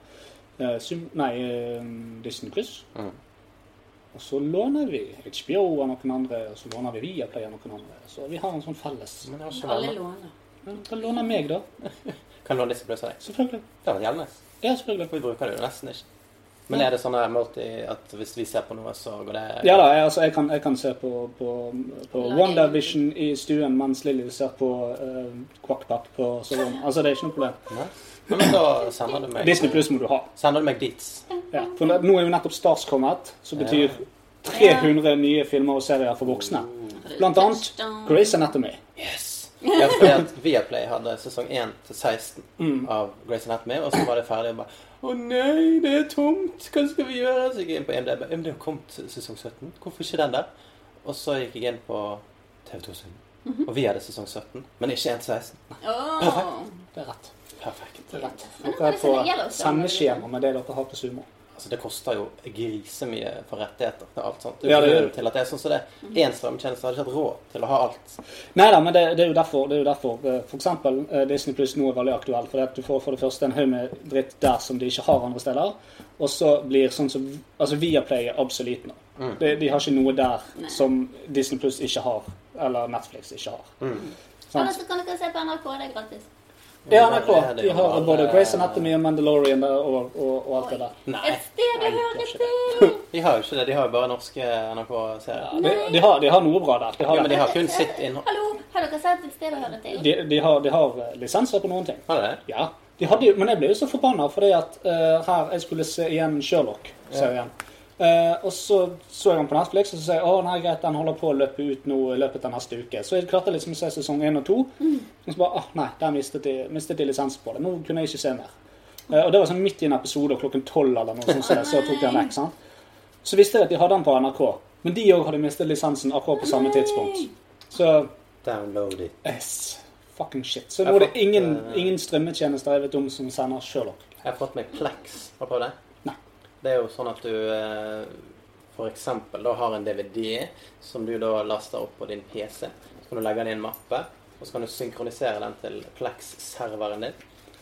Speaker 4: eh, Sum... Nei, eh, Disney Pluss.
Speaker 3: Mhm.
Speaker 4: Og så låner vi HBO av noen andre, og så låner vi Viaplay av noen andre. Så vi har en sånn felles.
Speaker 3: Men jeg har ikke
Speaker 5: Alle
Speaker 3: valgt.
Speaker 5: låner.
Speaker 4: Ja, Da låner meg, da.
Speaker 3: Kan låne disse bløsene.
Speaker 4: Selvfølgelig.
Speaker 3: Det hadde vært jævlig nice.
Speaker 4: Ja, selvfølgelig.
Speaker 3: Vi bruker det jo nesten ikke. Men er det sånn her multi at hvis vi ser på noe, så går det
Speaker 4: Ja da, jeg, altså, jeg, kan, jeg kan se på, på, på
Speaker 5: Lagring.
Speaker 4: WandaVision i stuen mens Lilly ser på uh, Quackpack på soverommet. Altså, det er ikke noe problem.
Speaker 3: Nei? Ja, Men da sender du meg
Speaker 4: Disney Pluss må du ha.
Speaker 3: Sender du meg dit.
Speaker 4: Ja, for nå- nå er jo nettopp Stars kommet, som betyr 300 nye filmer og serier for voksne. Blant annet Grey's Anatomy.
Speaker 3: Yes! Ja, fordi at Viaplay hadde sesong 1 til 16
Speaker 4: Mm.
Speaker 3: av Grace Anatomy, og så var det ferdig og bare Å nei, det er tomt! Hva skal vi gjøre? Så gikk jeg inn på MDB. Men det har kommet sesong 17. Hvorfor ikke den der? Og så gikk jeg inn på TV2 sin.
Speaker 4: Mhm.
Speaker 3: Og vi hadde sesong 17, men ikke 1 til 16.
Speaker 5: Åh.
Speaker 4: Det er rett.
Speaker 3: Perfekt.
Speaker 4: Det er rett.
Speaker 5: Men
Speaker 4: Dere er på
Speaker 5: det gjelder også.
Speaker 4: sendeskjema med det dere har på Sumo.
Speaker 3: Altså, det koster jo grisemye for rettigheter til alt sånt.
Speaker 4: Ja, det gjør
Speaker 3: Grunnen
Speaker 4: det.
Speaker 3: til at det er sånn som det er. Én strømtjeneste hadde ikke hatt råd til å ha alt.
Speaker 4: Nei da, men det, det er jo derfor, det er jo derfor eh, for eksempel eh, Disney Pluss nå er veldig aktuelt. For at du får for det første en haug med dritt der som de ikke har andre steder. Og så blir sånn som Altså Viaplay er absolutt nå.
Speaker 3: Mm.
Speaker 4: De, de har ikke noe der som Disney Pluss ikke har. Eller Netflix ikke har.
Speaker 3: Mm.
Speaker 4: Sånn.
Speaker 5: Eller
Speaker 3: Sånn.
Speaker 5: så kan dere se på NRK, det er gratis.
Speaker 4: Ja,
Speaker 3: men det er
Speaker 4: NRK.
Speaker 3: det
Speaker 4: De
Speaker 3: jo
Speaker 4: har
Speaker 3: bare-
Speaker 4: både Grace Anatomy og Mandalorian der og, og, og alt det der.
Speaker 3: Nei.
Speaker 5: Et sted du hører
Speaker 4: kanskje
Speaker 5: til!
Speaker 3: De har jo ikke det. De har jo bare norske NRK-serier.
Speaker 4: De, de, har, de har noe bra der. De
Speaker 3: Ja,
Speaker 4: har,
Speaker 3: men de har kun sitt innhold.
Speaker 5: Hallo, har dere sett et sted å høre til?
Speaker 4: de, de har, de har eh, lisenser på noen ting.
Speaker 3: Har de det?
Speaker 4: Ja. De hadde, jo- men jeg ble jo så forbanna fordi at eh, her jeg skulle se igjen Sherlock-serien. Eh, og så så jeg den på Netflix og så sa jeg, å nei greit, den holder på å løpe ut nå i løpet av neste uke. Så jeg klarte liksom å se sesong én og to. Og så bare ah, nei, der mistet de, mistet de lisens på det. Nå kunne jeg ikke se mer. Eh, og det var sånn midt i en episode og klokken tolv eller noe sånt. Så, jeg, så jeg tok den vekk. sant? Så visste jeg at de hadde den på NRK. Men de òg hadde mistet lisensen akkurat på samme tidspunkt. Så
Speaker 3: Download it.
Speaker 4: Yes. Fucking shit. Så nå er det ingen, ingen strømmetjenester jeg vet om som sender Sherlock.
Speaker 3: Jeg har fått meg Plex. Har du prøvd det?
Speaker 4: Nei.
Speaker 3: Det er jo sånn at du eh, for eksempel da har en DVD som du da laster opp på din PC. Så kan du legge den i en mappe, og så kan du synkronisere den til Plex-serveren din.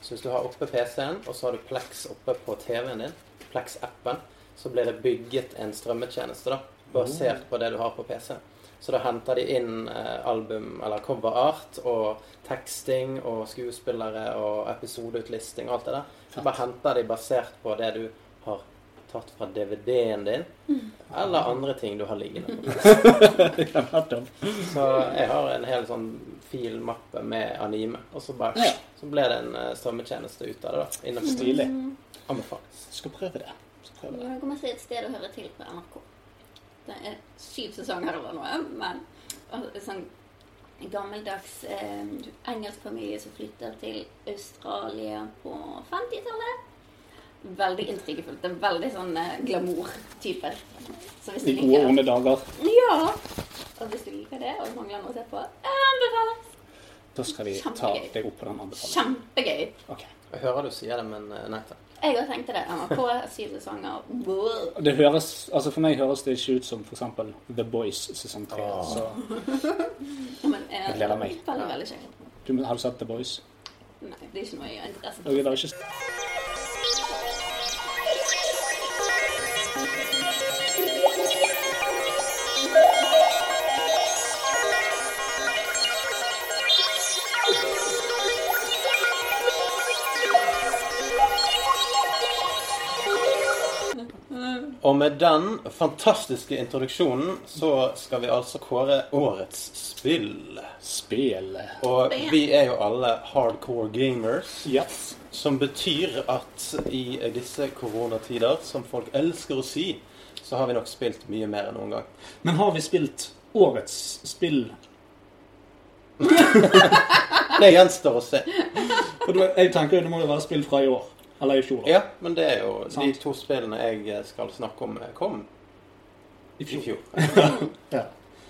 Speaker 3: Så hvis du har oppe PC-en, og så har du Plex oppe på TV-en din, Plex-appen, så blir det bygget en strømmetjeneste da, basert på det du har på PC-en. Så da henter de inn eh, album eller coverart og teksting og skuespillere og episodeutlisting og alt det der. Så bare henter de basert på det du har tatt fra DVD-en din, eller andre ting du har liggende. på.
Speaker 4: Nettopp.
Speaker 3: Så jeg har en hel sånn filmappe med anime, og så bare
Speaker 4: Ja.
Speaker 3: Så ble det en eh, strømmetjeneste ut av det, da. Innenfor
Speaker 4: Stilig.
Speaker 3: anbefales.
Speaker 4: Skal prøve det. Skal prøve det.
Speaker 5: Nå kommer jeg til et sted å høre til på NRK. Det er syv sesonger eller noe, men altså, sånn gammeldags eh, engelsk familie som flytter til Australia på 50-tallet. Veldig intrigefullt. Det er veldig sånn eh, glamour-type. Så hvis
Speaker 4: I gode,
Speaker 5: du liker
Speaker 4: onde dager.
Speaker 5: Ja! Og hvis du liker det, og mangler noe å se på, anbefales.
Speaker 4: Da skal vi ta deg opp på den anbefalingen.
Speaker 5: Kjempegøy.
Speaker 4: Ok.
Speaker 3: Jeg hører du sier det, men eh, nei takk.
Speaker 5: Jeg òg tenkte det. NRK, syv sesonger. Wow.
Speaker 4: Det høres, altså For meg høres det ikke ut som f.eks. The Boys sesong tre. Så
Speaker 5: Men, eh,
Speaker 4: Jeg gleder meg.
Speaker 5: Veldig, veldig kjekt.
Speaker 4: du har du sett The Boys?
Speaker 5: Nei, det er ikke noe jeg har interesse
Speaker 4: Ok,
Speaker 5: for.
Speaker 4: det er ikke...
Speaker 8: Thank you.
Speaker 3: Og med den fantastiske introduksjonen så skal vi altså kåre årets spill.
Speaker 4: Spill.
Speaker 3: Og vi er jo alle hardcore gamers.
Speaker 4: Yes.
Speaker 3: Som betyr at i disse koronatider, som folk elsker å si, så har vi nok spilt mye mer enn noen gang.
Speaker 4: Men har vi spilt årets spill? Ah.
Speaker 3: Det gjenstår å se.
Speaker 4: For du, jeg tenker jo det må jo være spill fra i år. Eller i fjor. da.
Speaker 3: Ja, men det er jo
Speaker 4: Sant.
Speaker 3: de to spillene jeg skal snakke om, eh, kom
Speaker 4: I
Speaker 3: i fjor.
Speaker 4: Ja.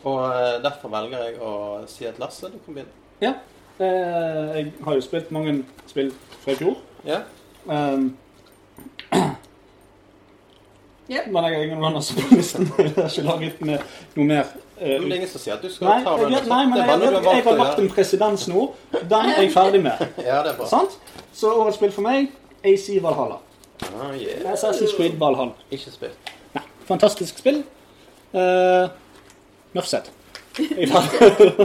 Speaker 3: Og eh, derfor velger jeg å si at Lasse, du kan begynne.
Speaker 4: ja. Eh, jeg har jo spilt mange spill fra i fjor.
Speaker 3: Ja,
Speaker 4: Um,
Speaker 5: Ja.
Speaker 4: Men jeg har ingen runners på listen. Jeg har ikke laget med noe mer. eh,
Speaker 3: men det er ingen som sier at du skal
Speaker 4: Nei,
Speaker 3: ta
Speaker 4: jeg,
Speaker 3: den.
Speaker 4: vet- nei, men
Speaker 3: det
Speaker 4: jeg,
Speaker 3: er bare
Speaker 4: jeg,
Speaker 3: noe
Speaker 4: jeg,
Speaker 3: du har
Speaker 4: har
Speaker 3: valgt
Speaker 4: lagt
Speaker 3: å
Speaker 4: en presedens nå. Den er jeg ferdig med.
Speaker 3: gjøre. Ja, det er bra.
Speaker 4: Sant? Så årets spill for meg AC Valhalla.
Speaker 3: Ah, yeah.
Speaker 4: Assassin's Creed Valhalla.
Speaker 3: Ikke spilt.
Speaker 4: Nei, fantastisk spill. Uh, Nuffset.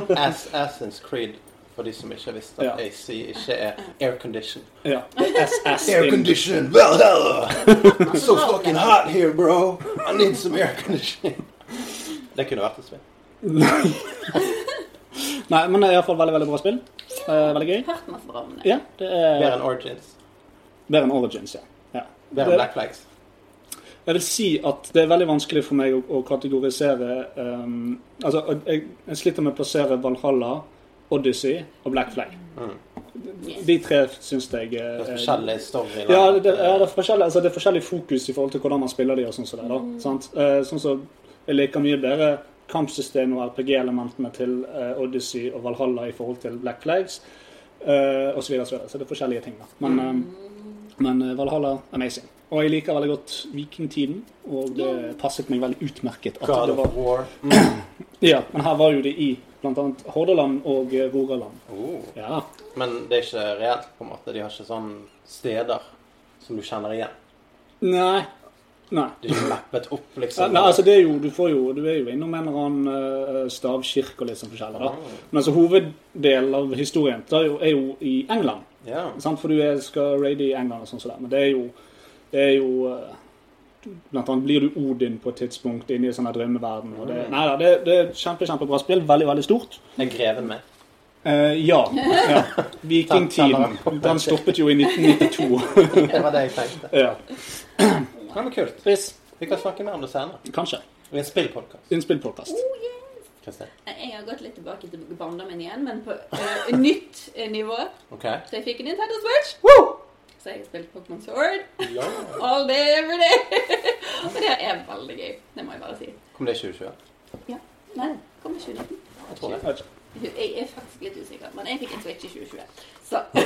Speaker 3: Assassin's Creed, for de som ikke visste at
Speaker 4: Ja.
Speaker 3: AC ikke er aircondition.
Speaker 4: Ja. SS.
Speaker 3: Air condition, Valhalla! It's so fucking hot here, bro. I need some air conditioning. Det kunne vært et spill.
Speaker 4: Nei, men det er iallfall veldig veldig bra spill. Eh, veldig gøy.
Speaker 5: Hørt masse bra om det.
Speaker 4: Ja, det er
Speaker 3: Bedre enn Origins.
Speaker 4: bedre enn Origins, ja. ja.
Speaker 3: Bedre enn Black Flags.
Speaker 4: Jeg vil si at det er veldig vanskelig for meg å, å kategorisere ehm, Altså, jeg, jeg sliter med å plassere Valhalla, Odyssey og Black Flag. De tre syns jeg
Speaker 3: Mm. Det
Speaker 4: eh,
Speaker 3: er Forskjellige story.
Speaker 4: Ja, det, det- ja, det, er forskjellig, altså, det er forskjellig fokus i forhold til hvordan man spiller de og sånn som det. da, sant? Eh, sånn som Jeg liker mye bedre kampsystemet og RPG-elementene til eh, Odyssey og Valhalla i forhold til Black Flags eh, osv. Så, videre, og så, videre. så det er forskjellige ting. da. Men, eh, men eh, Valhalla amazing. Og jeg liker veldig godt vikingtiden, og det passet meg veldig utmerket. at
Speaker 3: God
Speaker 4: det var...
Speaker 3: of War.
Speaker 4: Ja, Men her var jo det i bl.a. Hordaland og eh, Rogaland.
Speaker 3: Oh.
Speaker 4: Ja,
Speaker 3: Men det er ikke reelt, på en måte. De har ikke sånne steder som du kjenner igjen.
Speaker 4: Nei. Nei.
Speaker 3: Det er ikke mappet opp,
Speaker 4: Ja,
Speaker 3: liksom.
Speaker 4: Nei, altså det er jo, du, får jo, du er jo innom en eller annen eh, stavkirke og litt sånn forskjellig.
Speaker 3: Ah.
Speaker 4: da. Men altså hoveddelen av historien da er jo, er jo i England.
Speaker 3: Ja.
Speaker 4: sant? For du er, skal raide i England og sånn som det. Men det er jo, det er jo eh, Blant annet blir du Odin på et tidspunkt inne i en sånn her drømmeverden. Og det, nei, da, det, det er kjempe, kjempebra spill. Veldig, veldig stort.
Speaker 3: Er greven med?
Speaker 4: Eh, ja. ja. Vikingtiden. Den stoppet jo i 1992.
Speaker 3: Det var det jeg tenkte.
Speaker 4: ja.
Speaker 3: Det var kult.
Speaker 4: Chris,
Speaker 3: Vi kan snakke mer om det senere.
Speaker 4: kanskje.
Speaker 3: I en spillpodkast.
Speaker 4: Innspillpodkast.
Speaker 5: Oh, yes.
Speaker 3: Kristin.
Speaker 5: Jeg har gått litt tilbake til barndommen igjen, men på eh, nytt eh, nivå.
Speaker 3: OK?
Speaker 5: Så jeg fikk en Nintendo Switch. Så jeg har spilt Pokémon Sword
Speaker 3: Ja.
Speaker 5: all day every day. Og det er veldig gøy. Det må jeg bare si.
Speaker 3: Kom det i 2020?
Speaker 5: Ja. Nei, kommer 2019.
Speaker 3: Jeg tror det.
Speaker 5: Jeg er faktisk litt usikker, men jeg fikk en Switch i 2020. Så Det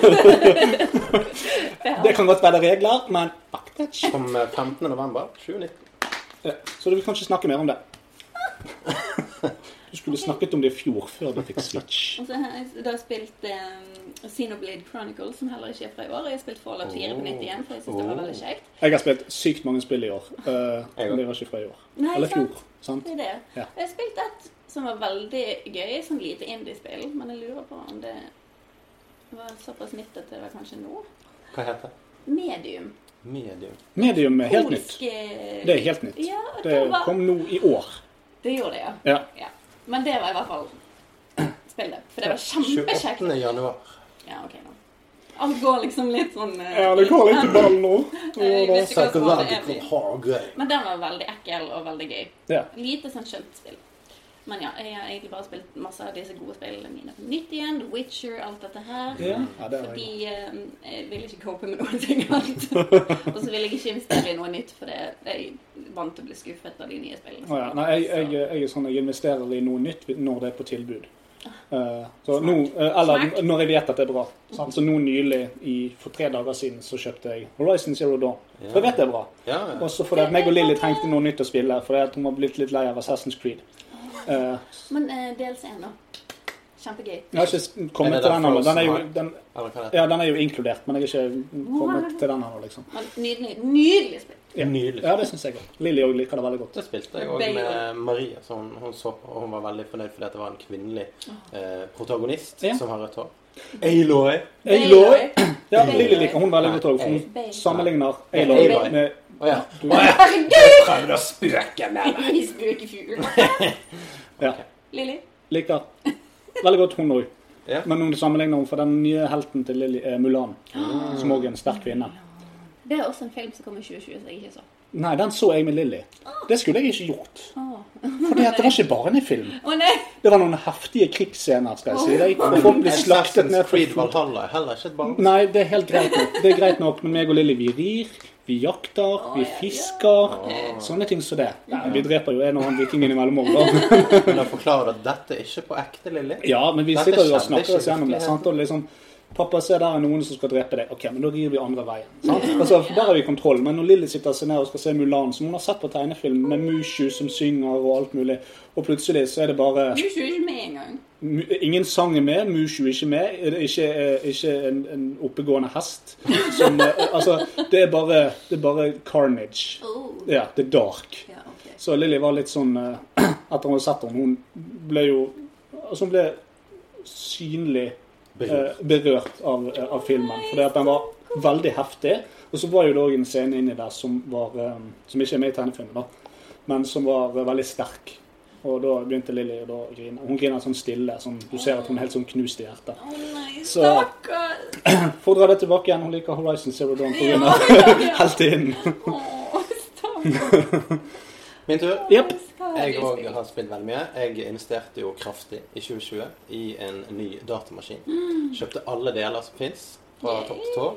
Speaker 4: Det kan godt være regler, men fuck that shit.
Speaker 3: Kom eh, 15. november 2019.
Speaker 4: Ja, Så du vil kanskje snakke mer om det? Du skulle snakket om det i fjor, før du fikk Switch.
Speaker 5: Og så har jeg da spilt eh, Xenoblade Chronicles, som heller ikke er fra i år. Jeg har spilt Fallout 4 på nytt igjen, for jeg syns det
Speaker 4: Oh.
Speaker 5: var veldig kjekt.
Speaker 4: Jeg har spilt sykt mange spill i år. eh, men det var ikke fra i år.
Speaker 5: Nei,
Speaker 4: Eller fjor.
Speaker 5: sant.
Speaker 4: sant?
Speaker 5: Det er det.
Speaker 4: Ja.
Speaker 5: Jeg har spilt et som var veldig gøy, som lite indie-spill, men jeg lurer på om det var såpass nytt at det var kanskje nå.
Speaker 3: Hva heter det?
Speaker 5: Medium.
Speaker 3: Medium.
Speaker 4: Medium er helt nytt.
Speaker 5: Polske
Speaker 4: Det er helt nytt.
Speaker 5: Ja, det,
Speaker 4: Det
Speaker 5: var...
Speaker 4: kom nå i år.
Speaker 5: det gjorde det, ja.
Speaker 4: Ja.
Speaker 5: ja. Men det var i hvert fall spill, det. For det var kjempekjekt.
Speaker 3: 28. januar.
Speaker 5: Ja, ok, nå. Alt går liksom litt sånn eh,
Speaker 4: Ja, det går litt i ballen nå.
Speaker 5: Jeg vet ikke hva som var
Speaker 3: Psychological
Speaker 5: det egentlig.
Speaker 3: Hargøy.
Speaker 5: Men den var veldig ekkel og veldig gøy.
Speaker 4: Ja.
Speaker 5: Lite sånn skjønt spill. Men ja, jeg har egentlig bare spilt masse av disse gode spillene mine på nytt igjen. The Witcher, alt dette her.
Speaker 4: Ja, ja, det er
Speaker 5: Fordi
Speaker 4: jeg.
Speaker 5: eh, jeg vil ikke cope med noen ting annet. og så vil jeg ikke investere i noe nytt, for det, jeg er vant til å bli skuffet av de nye spillene.
Speaker 4: Å ja. Nei, jeg, jeg, jeg er sånn jeg investerer i noe nytt når det er på tilbud. Eh, så nå, eh, eller
Speaker 5: Smart.
Speaker 4: når jeg vet at det er bra. Sant? Så nå nylig, i, for tre dager siden, så kjøpte jeg Horizon Zero Dawn. For jeg vet det er bra.
Speaker 3: Ja, ja.
Speaker 4: Og så fordi at meg og Lilly trengte noe nytt å spille, fordi at hun var blitt litt lei av Assassin's Creed. Eh,
Speaker 5: Så. Men eh, dels én nå. Kjempegøy.
Speaker 4: jeg har ikke s- kommet
Speaker 3: Er det
Speaker 4: til den
Speaker 3: derfor
Speaker 4: ennå. Den, er jo-
Speaker 3: Frozen
Speaker 4: den,
Speaker 3: Eller hva heter
Speaker 4: ja, den er jo inkludert, men jeg har ikke kommet til den ennå, liksom.
Speaker 5: Men nydelig, nydelig spill.
Speaker 3: det? Nydelig.
Speaker 4: Ja, det syns jeg òg. Lilly òg liker det veldig godt.
Speaker 3: Det spilte jeg òg med Maria, så hun, hun så på, og hun var veldig fornøyd fordi at det var en kvinnelig eh, protagonist
Speaker 4: Ja.
Speaker 3: som har rødt hår. Aloy.
Speaker 4: Aloy.
Speaker 5: Aloy.
Speaker 4: Ja, Lilly liker hun veldig godt òg, for
Speaker 5: Nei,
Speaker 4: hun
Speaker 5: Aloy.
Speaker 4: sammenligner
Speaker 3: Nei,
Speaker 4: Aloy
Speaker 3: Aloy.
Speaker 4: med
Speaker 3: Å ja. Å ja.
Speaker 5: Herregud!
Speaker 3: Prøvde å spøke med deg.
Speaker 5: I spøkefugl.
Speaker 4: Ja.
Speaker 5: Lilly?
Speaker 4: Liker veldig godt hun òg.
Speaker 3: Ja.
Speaker 4: Men hun sammenligner hun for den nye helten til Lilly er Mulan,
Speaker 3: Ah.
Speaker 4: som òg er en sterk kvinne.
Speaker 5: Det er også en film som kom i 2020 som jeg ikke så.
Speaker 4: Nei, den så jeg med Lilly. Det skulle jeg ikke gjort.
Speaker 5: Å
Speaker 4: Fordi at det var ikke bare en film.
Speaker 5: Å, nei!
Speaker 4: Det var noen heftige krigsscener, skal jeg si deg. Og folk ble slaktet ned
Speaker 3: Assassin's
Speaker 4: for
Speaker 3: Creed Valhalla er heller ikke et barn.
Speaker 4: Nei, det er helt greit nok. Det er greit nok, men meg og Lilly, vi rir, vi jakter, vi fisker.
Speaker 3: Ah.
Speaker 4: Sånne ting som det. Nei, vi dreper jo en og annen viking innimellom òg, da.
Speaker 3: Men da forklarer du at dette er ikke på ekte, Lilly.
Speaker 4: Ja, men vi
Speaker 3: Dette
Speaker 4: sitter jo og
Speaker 3: skjedde
Speaker 4: snakker
Speaker 3: ikke
Speaker 4: oss gjennom det.
Speaker 3: virkelig.
Speaker 4: sant? Og liksom, Pappa, se der er noen som skal drepe deg. Ok, men da rir vi andre veien. sant? Altså, Der har vi kontroll. Men når Lilly sitter seg ned og skal se Mulan, som hun har sett på tegnefilm, med Mushu som synger og alt mulig, og plutselig så er det bare
Speaker 5: Du er ikke med engang.
Speaker 4: Mu- Ingen sang er med, Mushu er ikke med, er det ikke, er ikke en, en oppegående hest. Som, eh, altså, det er bare, det er bare carnage.
Speaker 5: Oh.
Speaker 4: Ja, det er dark.
Speaker 5: Ja, ok.
Speaker 4: Så Lilly var litt sånn eh, Etter hun hadde sett henne, hun ble jo Altså, hun ble synlig eh, berørt av, eh, av filmen. Fordi at den var veldig heftig. Og så var jo det òg en scene inni der som var eh, Som ikke er med i tegnefilmen, da, men som var eh, veldig sterk. Og da begynte Lilly å da grine. Hun griner sånn stille. Sånn, du ser at hun er helt sånn knust i hjertet.
Speaker 5: Å nei,
Speaker 4: Så-
Speaker 5: stakkar!
Speaker 4: Får dra det tilbake igjen. Hun liker Horizon Zero Dawn
Speaker 5: Ja,
Speaker 4: pga.
Speaker 5: ja, ja.
Speaker 4: heltinnen.
Speaker 5: Å, stakkar.
Speaker 3: Min tur.
Speaker 4: Jepp.
Speaker 3: Jeg òg har spilt veldig mye. Jeg investerte jo kraftig i 2020 i en ny datamaskin. Kjøpte alle deler som fins, fra topp til tå.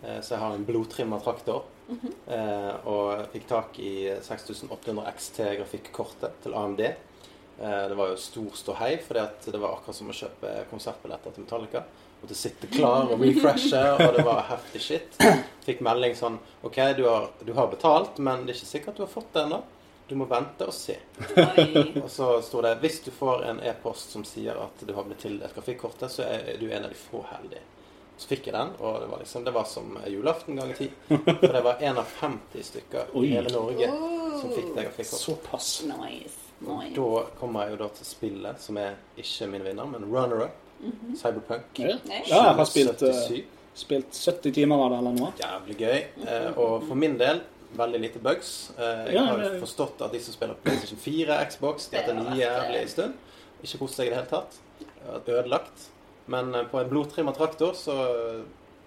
Speaker 3: Eh, Så jeg har en blodtrimma traktor. eh, Og fikk tak i 6800 XT-grafikkortet til AMD. Eh, Det var jo stor ståhei, for det var akkurat som å kjøpe konsertbilletter til Metallica. Måtte sitte klar og refreshe, og det var heftig shit. Fikk melding sånn OK, du har, du har betalt, men det er ikke sikkert du har fått det ennå. Du må vente og se.
Speaker 5: Oi.
Speaker 3: Og så sto det hvis du får en e-post som sier at du har blitt tildelt grafikkortet, så er du en av de få heldige. Så fikk jeg den, og det var liksom, det var som julaften ganger ti. For det var en av 50 stykker
Speaker 4: Oi.
Speaker 3: i hele Norge som fikk det grafikkortet.
Speaker 4: Såpass.
Speaker 5: Nice. nice.
Speaker 3: Da kommer jeg jo da til spillet som er ikke min vinner, men runner-up. Cyberpunk.
Speaker 4: Ja,
Speaker 5: Nei.
Speaker 4: Mhm. Ja, jeg har spilt, eh,
Speaker 3: 77.
Speaker 4: spilt 70 timer av det eller noe.
Speaker 3: Jævlig gøy. Eh, og for min del veldig lite bugs. Eh, jeg
Speaker 4: Ja,
Speaker 3: har jo
Speaker 4: det-
Speaker 3: forstått at de som spiller PlayStation 4, Xbox, de har hatt en
Speaker 5: Det har vært,
Speaker 3: jævlig stund. Ikke kost seg i det hele tatt. Eh, Ødelagt. Men eh, på en blodtrimma traktor så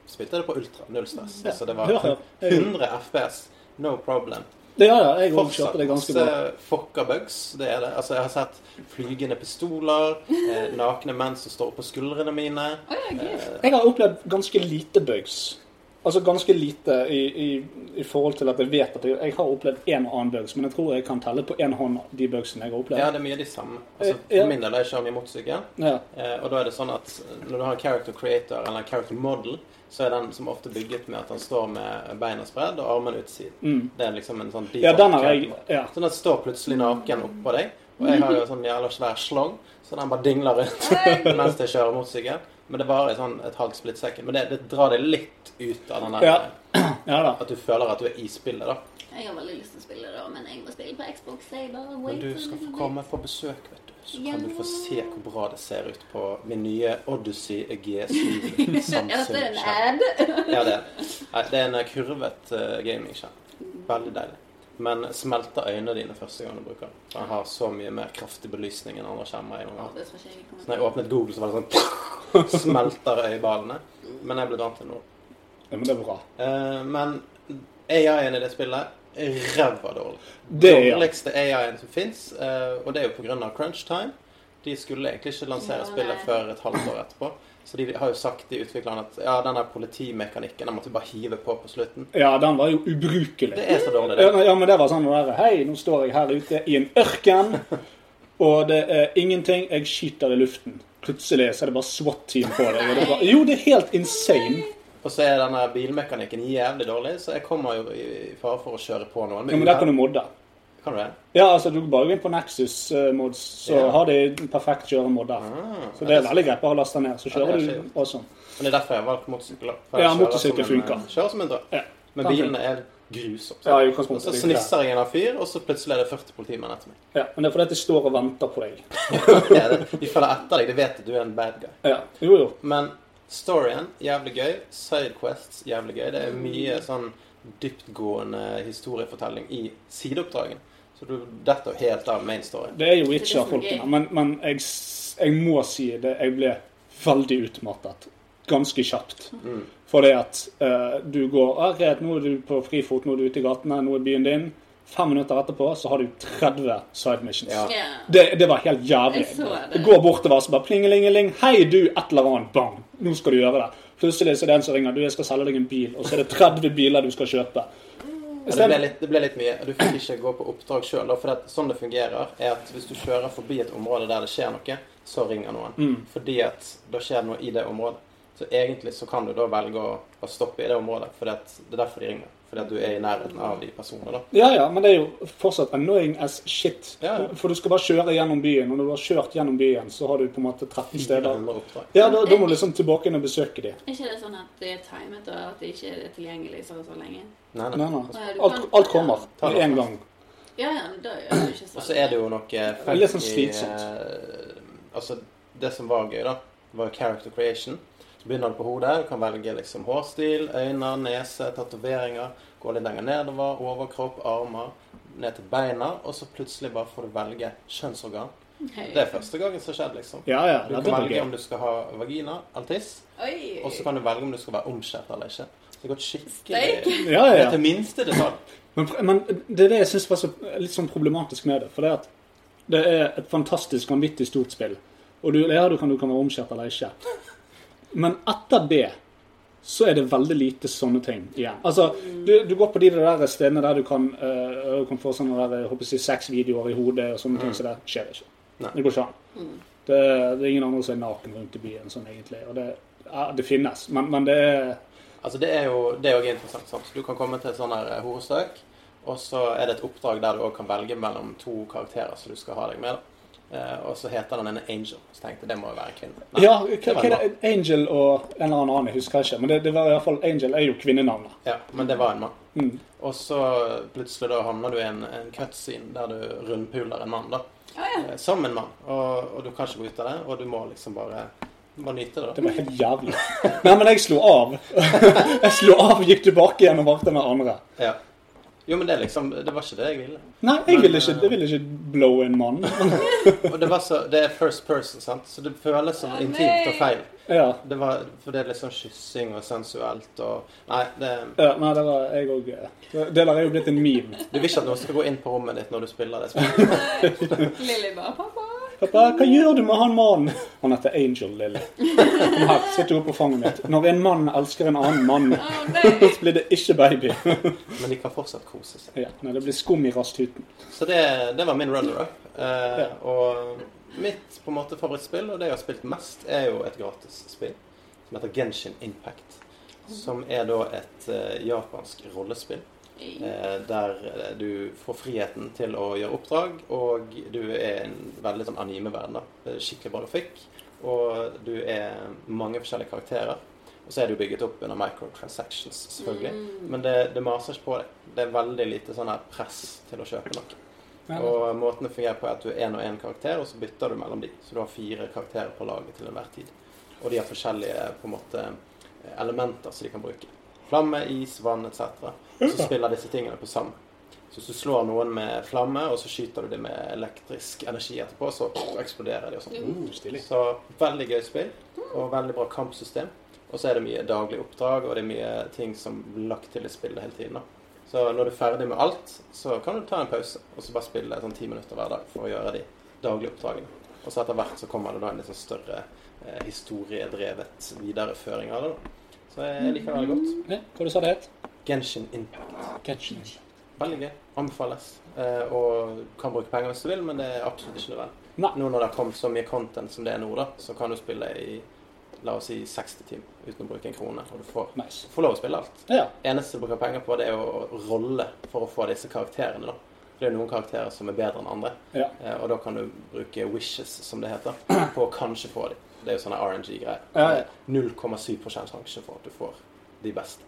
Speaker 3: spilte jeg det på ultra. Null stress. Så det var
Speaker 4: Ja, ja.
Speaker 3: 100 FPS. No problem.
Speaker 4: Det gjør jeg. Jeg òg
Speaker 3: Fortsatt
Speaker 4: kjørte det ganske
Speaker 3: masse
Speaker 4: bra.
Speaker 3: fucka bugs. Det er det. Altså, jeg har sett flygende pistoler, eh, nakne menn som står oppå skuldrene mine.
Speaker 5: Å, ja, gud.
Speaker 4: Jeg har opplevd ganske lite bugs. Altså ganske lite i, i, i forhold til at jeg vet at jeg, jeg har opplevd en og annen bugs, men jeg tror jeg kan telle på én hånd de bugsene jeg har opplevd.
Speaker 3: Ja, det er mye de samme. Altså,
Speaker 4: Eh, ja.
Speaker 3: for min del er jeg kjører mye motorsykkel.
Speaker 4: Ja.
Speaker 3: Eh, og da er det sånn at når du har en character creator eller en character model, så er den som ofte bygget med at han står med beina spredd og armene utsiden. Det er liksom en sånn
Speaker 4: Mm. Ja,
Speaker 3: default
Speaker 4: den har jeg-
Speaker 3: character model.
Speaker 4: ja.
Speaker 3: Så den står plutselig naken oppå deg, og jeg har jo sånn jævla svær slong, så den bare dingler rundt mens jeg kjører motorsykkel. Men det varer i sånn et halvt splittsekund. Men det, det drar deg litt ut av den der
Speaker 4: Ja. ja da.
Speaker 3: At du føler at du er i spillet, da.
Speaker 5: Jeg har veldig lyst til å spille det, da, men jeg må spille på Xbox. Jeg bare
Speaker 3: Men
Speaker 5: wait
Speaker 3: du
Speaker 5: a
Speaker 3: skal få
Speaker 5: little
Speaker 3: komme på besøk, vet du. Så
Speaker 5: Ja.
Speaker 3: kan du få se hvor bra det ser ut på min nye Odyssey
Speaker 5: bit.
Speaker 3: G7
Speaker 5: Er dette en
Speaker 3: Samsung-skjerm.
Speaker 5: ad?
Speaker 3: Ja, det er det. sånn Nei, det er en eh, kurvet uh, gamingskjerm. Veldig deilig. Men smelter øynene dine første gang du bruker den. Den har så mye mer kraftig belysning enn andre skjermer. jeg noen gang har hatt.
Speaker 5: Det tror ikke jeg
Speaker 3: Så
Speaker 5: kommer
Speaker 3: Når
Speaker 5: til.
Speaker 3: jeg åpnet Google, så var det sånn Smelter øyeballene. Men jeg ble vant til det nå.
Speaker 4: Ja, men det er bra.
Speaker 3: Eh, men AI-en i det spillet er ræva dårlig.
Speaker 4: Det er-
Speaker 3: Dårligste AI-en som fins. og det er jo pga. crunch time. De skulle egentlig ikke lansere
Speaker 5: Ja,
Speaker 3: spillet
Speaker 5: nei.
Speaker 3: før et halvt år etterpå. Så de har jo sagt de utviklerne at ja, den der politimekanikken den måtte vi bare hive på på slutten.
Speaker 4: Ja, den var jo ubrukelig.
Speaker 3: Det er så dårlig,
Speaker 4: Ja,
Speaker 3: det.
Speaker 4: men- ja, men det var sånn der, Hei, nå står jeg her ute i en ørken, og det er ingenting. Jeg skyter i luften. Plutselig så er det bare SWAT-team på deg. Og det er bare, jo, det er helt insane.
Speaker 3: Og så er denne bilmekanikken jævlig dårlig, så jeg kommer jo i i fare for å kjøre på noen.
Speaker 4: Ja, men der kan du modde.
Speaker 3: Kan du det?
Speaker 4: Ja, altså du kan bare gå inn på Nexus eh, Mods, så
Speaker 3: Ja.
Speaker 4: har de en perfekt kjøremod der. så det er veldig greit. Bare last den ned, så
Speaker 3: det
Speaker 4: kjører
Speaker 3: er
Speaker 4: du også.
Speaker 3: Men det er derfor jeg har valgt motorsykkel. da. For
Speaker 4: Ja,
Speaker 3: jeg kjører
Speaker 4: motorsykkel
Speaker 3: som en-
Speaker 4: funker.
Speaker 3: Kjører som en drøm.
Speaker 4: Ja.
Speaker 3: Men
Speaker 4: Kanskje.
Speaker 3: bilene er grusomme.
Speaker 4: Ja, i
Speaker 3: og
Speaker 4: utgangspunktet
Speaker 3: så
Speaker 4: er det ikke
Speaker 3: snisser jeg en av fyr, og så plutselig er det 40 politimenn etter meg.
Speaker 4: Ja, men det er fordi at de står og venter på deg.
Speaker 3: Det er det. De følger etter deg. De vet at du er en bad guy.
Speaker 4: Ja, jo jo.
Speaker 3: Men Storyen jævlig gøy. Sidequests jævlig gøy. Det er mye sånn dyptgående historiefortelling i sideoppdragen. Så du detter jo helt av main story.
Speaker 4: Det er jo
Speaker 5: Det er
Speaker 4: Witcher,
Speaker 5: det som er
Speaker 4: folkene.
Speaker 5: gøy.
Speaker 4: Men, men jeg, s- jeg må si det, jeg ble veldig utmattet. Ganske kjapt.
Speaker 3: Mm.
Speaker 4: For det at eh, du går ah, greit, nå er du på frifot, nå er du ute i gatene, nå er byen din. Fem minutter etterpå så har du 30 side missions.
Speaker 3: Ja.
Speaker 5: Ja.
Speaker 4: Det, det var helt jævlig.
Speaker 5: Jeg så det.
Speaker 4: Gå bortover så bare plingelingeling. Hei, du, et eller annet. Bang! Nå skal du gjøre det. Plutselig så er det en som ringer. Du, jeg skal selge deg en bil. Og så er det 30 biler du skal kjøpe.
Speaker 3: Ja, det, ble litt, det ble litt mye. Du fikk ikke gå på oppdrag sjøl. For det, at sånn det fungerer, er at hvis du kjører forbi et område der det skjer noe, så ringer noen. Fordi at da skjer det noe i det området. Så egentlig så kan du da velge å, å stoppe i det området. For det, at, det er derfor de ringer. Fordi at du er i nærheten av de personene. da.
Speaker 4: Ja, ja, men det er jo fortsatt annoying as shit.
Speaker 3: Ja, ja.
Speaker 4: For du skal bare kjøre gjennom byen, og når du har kjørt gjennom byen, så har du på en måte 13 steder.
Speaker 3: 400 oppdrag.
Speaker 4: Ja, da, da må du liksom tilbake inn og besøke dem.
Speaker 5: Er ikke det sånn at det er timet, og at det ikke er tilgjengelig så og så lenge?
Speaker 3: Nei,
Speaker 4: Nei,
Speaker 3: nei.
Speaker 4: nei.
Speaker 5: Nei, du
Speaker 4: Alt,
Speaker 5: kan-
Speaker 4: alt kommer
Speaker 3: Ta
Speaker 4: med
Speaker 3: det
Speaker 4: en
Speaker 3: først.
Speaker 4: gang.
Speaker 5: Ja, ja, men da gjør du ikke sånn.
Speaker 3: Og så er det jo noe
Speaker 4: er litt sånn
Speaker 3: funky,
Speaker 4: slitsomt.
Speaker 3: eh, Altså, det som var gøy, da, var jo character creation. Så begynner du på hodet. Du kan velge liksom hårstil, øyne, nese, tatoveringer. Gå litt lenger nedover. Overkropp, armer. Ned til beina. Og så plutselig bare får du velge kjønnsorgan. Det er første gangen som har skjedd, liksom.
Speaker 4: Ja, ja,
Speaker 3: Du
Speaker 4: ja, det
Speaker 3: kan
Speaker 4: var
Speaker 3: velge om
Speaker 4: gøy.
Speaker 3: du skal ha vagina eller tiss.
Speaker 5: Oi!
Speaker 3: Og så kan du velge om du skal være omskjært eller ikke. Så det har gått
Speaker 5: Steik.
Speaker 3: skikkelig
Speaker 4: Ja, ja,
Speaker 3: Det
Speaker 4: ja.
Speaker 3: er til minste detalj.
Speaker 4: Men, men det er det jeg syns var så, litt sånn problematisk med det. For det er at det er et fantastisk, vanvittig stort spill. Og du, ja, du kan, du kan være omskjært eller ikke. Men etter det så er det veldig lite sånne ting igjen. Altså, du, du går på de der stedene der du kan, eh, du kan få sånne der, jeg håper å si, sexvideoer i hodet og sånne ting, så det skjer ikke.
Speaker 3: Nei.
Speaker 4: Det går ikke an. Det, det er ingen andre som er naken rundt i byen sånn egentlig. Og det, ja, det finnes, men, men det er
Speaker 3: Altså Det er jo det er jo også interessant. sant? Du kan komme til et sånn her eh, horestøk, og så er det et oppdrag der du også kan velge mellom to karakterer som du skal ha deg med. da. Eh, og så heter den ene Angel. Så tenkte jeg det må jo være en kvinne. Nei,
Speaker 4: Ja,
Speaker 3: det
Speaker 4: hva,
Speaker 3: var
Speaker 4: hva er
Speaker 3: en
Speaker 4: det? Angel og en eller annen annen, jeg husker ikke. Men det, det var i hvert fall, Angel er jo kvinnenavnet.
Speaker 3: mann. Ja, Men det var en mann. Og så plutselig da havner du i en, en cutscene der du rundpuler en mann. da.
Speaker 5: Å, ja.
Speaker 3: Eh, Som en mann. Og, og du kan ikke gå ut av det, og du må liksom bare, bare nyte det.
Speaker 4: Det
Speaker 3: da.
Speaker 4: var helt jævlig. Nei, men jeg slo av. Jeg slo av, gikk tilbake igjen og varte med andre.
Speaker 3: Ja. Jo, men det er liksom Det var ikke det jeg ville.
Speaker 4: Nei, jeg ville ikke, jeg ville ikke blow en mann.
Speaker 3: Og det var så Det er first person, sant? så det føles som
Speaker 5: Å,
Speaker 3: intimt og
Speaker 5: nei.
Speaker 3: feil.
Speaker 4: Ja,
Speaker 3: Det var, for det er liksom kyssing og sensuelt og Nei, det,
Speaker 4: ja nei, det var jeg òg Det der er jo blitt en meme.
Speaker 3: du vil ikke at noen skal gå inn på rommet ditt når du spiller det spillet.
Speaker 5: Lilly bare Pappa!
Speaker 4: Pappa, hva gjør du med han mannen? Han heter Angel, Lille. Kom her, sitt opp på fanget mitt. Når en mann elsker en annen mann,
Speaker 5: Å, nei!
Speaker 4: så blir det ikke baby.
Speaker 3: Men de kan fortsatt kose seg.
Speaker 4: Ja, nei, det blir skum i rasthuten.
Speaker 3: Så det, det var min runner-up. Eh, Og mitt på en måte favorittspill, og det jeg har spilt mest, er jo et gratis spill som heter Genshin Impact. Som er da et eh, japansk rollespill.
Speaker 5: Mm.
Speaker 3: Eh, der eh, du får friheten til å gjøre oppdrag, og du er en veldig sånn anime-verden. da. Eh, Skikkelig bra grafikk. Og du er mange forskjellige karakterer. Og så er du bygget opp under microtransactions, selvfølgelig.
Speaker 5: Mm.
Speaker 3: Men det, det maser ikke på deg. Det er veldig lite sånn her press til å kjøpe noe.
Speaker 4: Ja, det-
Speaker 3: Og måten det fungerer på, er at du er én og én karakter, og så bytter du mellom de. Så du har fire karakterer på laget til enhver tid. Og de har forskjellige på en måte, eh, elementer som de kan bruke. Flamme, is, vann etc. Og så spiller disse tingene på sammen. Så hvis du slår noen med flamme, og så skyter du dem med elektrisk energi etterpå, så eksploderer de og sånn.
Speaker 4: Mm, stilig.
Speaker 3: Så veldig gøy spill, og veldig bra kampsystem. Og så er det mye daglige oppdrag, og det er mye ting som blir lagt til i spillet hele tiden. da. Så når du er ferdig med alt, så kan du ta en pause og så bare spille sånn ti minutter hver dag for å gjøre de daglige oppdragene. Og så etter hvert så kommer det da en litt sånn større eh, historiedrevet videreføring av det. da. Så jeg liker det veldig godt.
Speaker 4: Ja, Hva du sa det het?
Speaker 3: Genshin Impact.
Speaker 4: Catching.
Speaker 3: Veldig gøy. Anbefales. Eh, og du kan bruke penger hvis du vil, men det er absolutt ikke nødvendig.
Speaker 4: Nei.
Speaker 3: Nå når det har kommet så mye content som det er nå, da, så kan du spille i la oss si 60 timer uten å bruke en krone. Og du får,
Speaker 4: Nice.
Speaker 3: får lov å spille alt.
Speaker 4: Ja.
Speaker 3: eneste du bruker penger på, det er å rolle for å få disse karakterene. da. For det er jo noen karakterer som er bedre enn andre.
Speaker 4: Ja.
Speaker 3: Eh, og da kan du bruke wishes, som det heter, på å kanskje få dem. Det er jo sånne RNG-greier.
Speaker 4: Ja, ja.
Speaker 3: Eh, 0,7 sjanse for at du får de beste.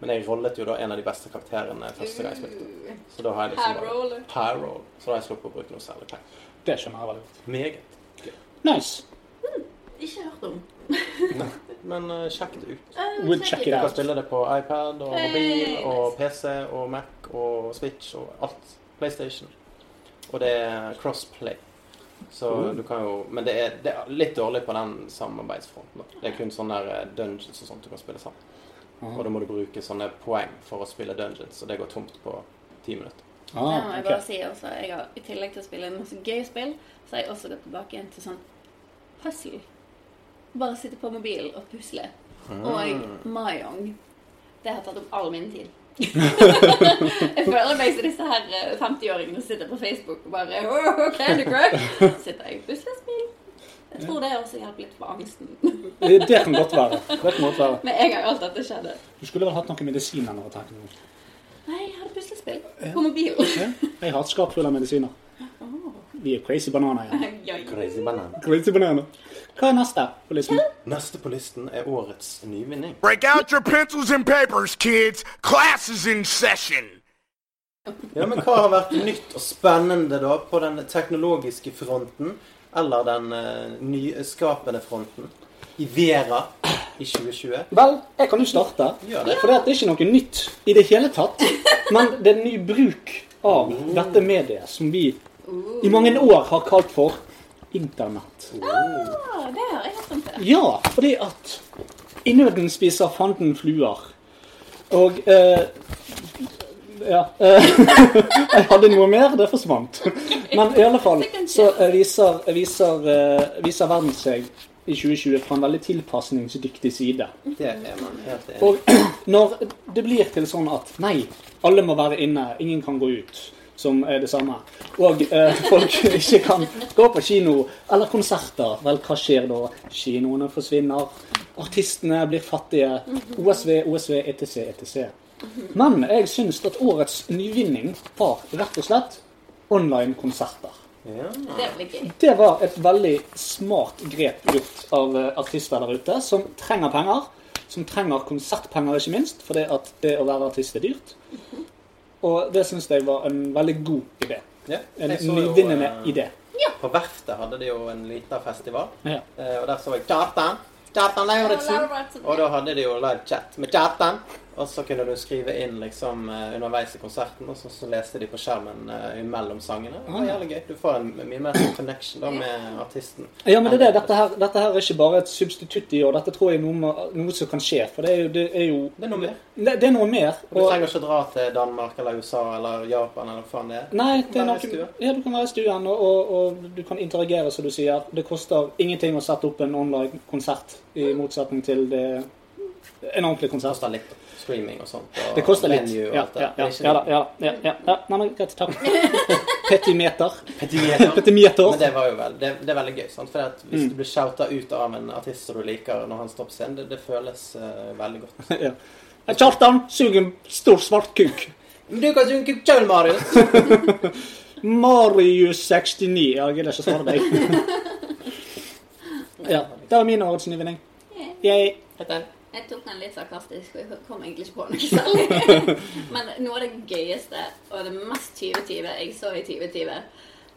Speaker 3: Men jeg rollet jo da en av de beste karakterene første gang jeg spilte. Så da har jeg liksom bare
Speaker 5: Harold.
Speaker 3: Pyroll. Så da har jeg sluppet å bruke noe særlig penger.
Speaker 4: Det skjønner jeg veldig godt.
Speaker 3: Meget.
Speaker 4: Nice.
Speaker 5: Ikke hørt om.
Speaker 3: men eh, sjekk det ut.
Speaker 5: Eh,
Speaker 4: We'll
Speaker 5: check
Speaker 4: check
Speaker 5: it
Speaker 4: it
Speaker 3: Du
Speaker 5: out.
Speaker 3: kan spille det på iPad og
Speaker 5: Hey,
Speaker 3: mobil og
Speaker 5: nice.
Speaker 3: PC og Mac og Switch og alt. PlayStation. Og det er crossplay. Så du kan jo Men det er, det er litt dårlig på den samarbeidsfronten. da. Det er kun sånne der eh, dungeons og sånt du kan spille sammen.
Speaker 4: Mm.
Speaker 3: Og da må du bruke sånne poeng for å spille dungeons, og det går tomt på ti minutter.
Speaker 5: Det må
Speaker 4: Ah,
Speaker 5: jeg
Speaker 4: ok.
Speaker 5: bare si også. Jeg har, I tillegg til å spille masse gøy spill, så har jeg også gått tilbake igjen til sånn puzzle. Bare sitte på mobilen og pusle.
Speaker 4: Ah.
Speaker 5: Og Mayong. Det har tatt opp all min tid. jeg føler meg som disse her eh, 50-åringene som sitter på Facebook og bare oh, Candy Crush! Sitter jeg og pusler spill. Jeg tror det også hjalp litt for angsten. Med
Speaker 4: Det det kan godt være. Det kan godt være.
Speaker 5: en gang alt dette skjedde.
Speaker 4: Du skulle vel hatt noe medisin eller noe takk.
Speaker 5: Nei, jeg hadde puslespill på mobilen.
Speaker 4: Ja, Jeg har et skap fullt av medisiner. Vi er crazy bananer igjen.
Speaker 5: Oi, oi.
Speaker 3: Crazy banan.
Speaker 4: Crazy bananer. Hva er neste på listen?
Speaker 3: Neste på listen er årets nyvinning.
Speaker 8: Break out your pencils and papers, kids. Class is in session.
Speaker 3: Ja, men Hva har vært nytt og spennende da på den teknologiske fronten? Eller den eh, nyskapende fronten? I Vera i 2020?
Speaker 4: Vel, jeg kan jo starte.
Speaker 3: Gjør det.
Speaker 4: For det er ikke noe nytt i det hele tatt. Men det er en ny bruk av dette mediet som vi i mange år har kalt for Internett.
Speaker 5: Ah, det har jeg hørt om før.
Speaker 4: Ja, fordi at i nøden spiser fanden fluer. Og eh, Ja. Eh, jeg hadde noe mer, det forsvant. Men i alle fall så eh, viser, viser, eh, viser verden seg i 2020 fra en veldig tilpasningsdyktig side.
Speaker 3: Det er man helt enig i.
Speaker 4: Og når det blir til sånn at nei, alle må være inne, ingen kan gå ut, som er det samme, og eh, folk ikke kan gå på kino eller konserter, vel, hva skjer da? Kinoene forsvinner, artistene blir fattige, OSV, OSV, etc., etc. E Men jeg syns at årets nyvinning var rett og slett online-konserter.
Speaker 5: Det blir gøy.
Speaker 4: Det var et veldig smart grep gjort av eh, artister der ute som trenger penger. Som trenger konsertpenger, ikke minst, fordi at det å være artist er dyrt. Og det syns jeg var en veldig god idé.
Speaker 3: Ja,
Speaker 4: En
Speaker 3: jeg så jo,
Speaker 4: nyvinnende
Speaker 3: eh,
Speaker 4: idé.
Speaker 3: På Verftet hadde de jo en liten festival,
Speaker 4: Ja.
Speaker 3: eh, og der så jeg Kjartan. Kjartan Lauritzen.
Speaker 5: Lauritzen, ja.
Speaker 3: Og da hadde de jo live chat med Kjartan. Og så kunne du skrive inn liksom eh, underveis i konserten, og så, så leste de på skjermen eh, mellom sangene. Det var jævlig gøy. Du får en mye mer connection da med artisten.
Speaker 4: Ja, men det er det. Dette her, dette her er ikke bare et substitutt i år. Dette tror jeg er noe, må- noe som kan skje. For det er jo Det er, jo,
Speaker 3: Det er noe mer.
Speaker 4: det, det er noe mer.
Speaker 3: Du trenger ikke dra til Danmark eller USA eller Japan eller hva faen det er.
Speaker 4: Nei, det er
Speaker 3: Bare
Speaker 4: nok,
Speaker 3: i stua.
Speaker 4: ja, du kan være i stuen, og, og, og du kan interagere, som du sier. Det koster ingenting å sette opp en online-konsert, i motsetning til det, en ordentlig
Speaker 3: Det
Speaker 4: konsert.
Speaker 3: koster litt. Streaming og sånt. Og
Speaker 4: Det koster litt.
Speaker 3: venue og
Speaker 4: Ja,
Speaker 3: alt det.
Speaker 4: ja, ja,
Speaker 3: Det er
Speaker 4: ja, da,
Speaker 3: ikke-
Speaker 4: ja, da, ja, ja, ja. Nei, men greit. Takk. Petimeter.
Speaker 3: Petimeter.
Speaker 4: Petimeter.
Speaker 3: Men det var jo vel, det, det er veldig gøy. sant? For at hvis
Speaker 4: Mm.
Speaker 3: du blir shouta ut av en artist som du liker når han står på scenen, det, det føles eh, veldig godt.
Speaker 4: Ja. Kjartan suger en stor svart kuk.
Speaker 3: Men du kan synge sjøl, Marius!
Speaker 4: Marius 69. Ja, jeg gidder ikke å svare deg. Ja. Det var min årets nyvinning. Jeg
Speaker 5: Jeg tok den litt sarkastisk, og jeg kom egentlig ikke på noe særlig. Men noe av det gøyeste og det mest 2020 jeg så i 2020,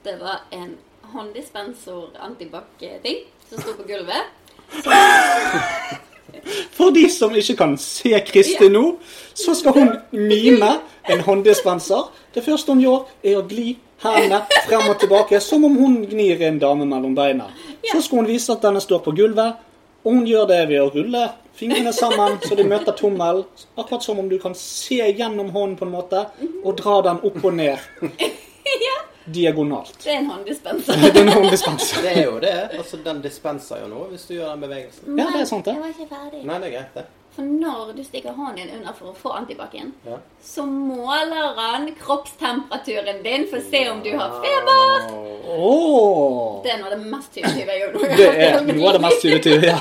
Speaker 5: det var en hånddispensor-antibac-ting som sto på gulvet.
Speaker 4: For de som ikke kan se Kristi nå, så skal hun mime en hånddispenser. Det første hun gjør, er å gli hendene frem og tilbake, som om hun gnir en dame mellom beina. Så skal hun vise at denne står på gulvet, og hun gjør det ved å rulle fingrene sammen så de møter tommelen. Akkurat som om du kan se gjennom hånden på en måte, og dra den opp og ned
Speaker 5: ja,
Speaker 4: diagonalt.
Speaker 5: det er en hånddispenser.
Speaker 4: Det er en hånddispenser.
Speaker 3: Det er jo det. Altså, den dispenser jo noe hvis du gjør den bevegelsen.
Speaker 4: Ja, det er sant,
Speaker 5: Jeg
Speaker 4: det.
Speaker 5: var ikke ferdig.
Speaker 3: Nei, det er greit, det.
Speaker 5: For når du stikker hånden din under for å få antibac-en,
Speaker 3: Ja.
Speaker 5: så måler han kroppstemperaturen din for å se om du har feber.
Speaker 4: Åh,
Speaker 5: Det er noe av det mest 2020 jeg gjorde.
Speaker 4: Det er noe av det mest intuitive, ja.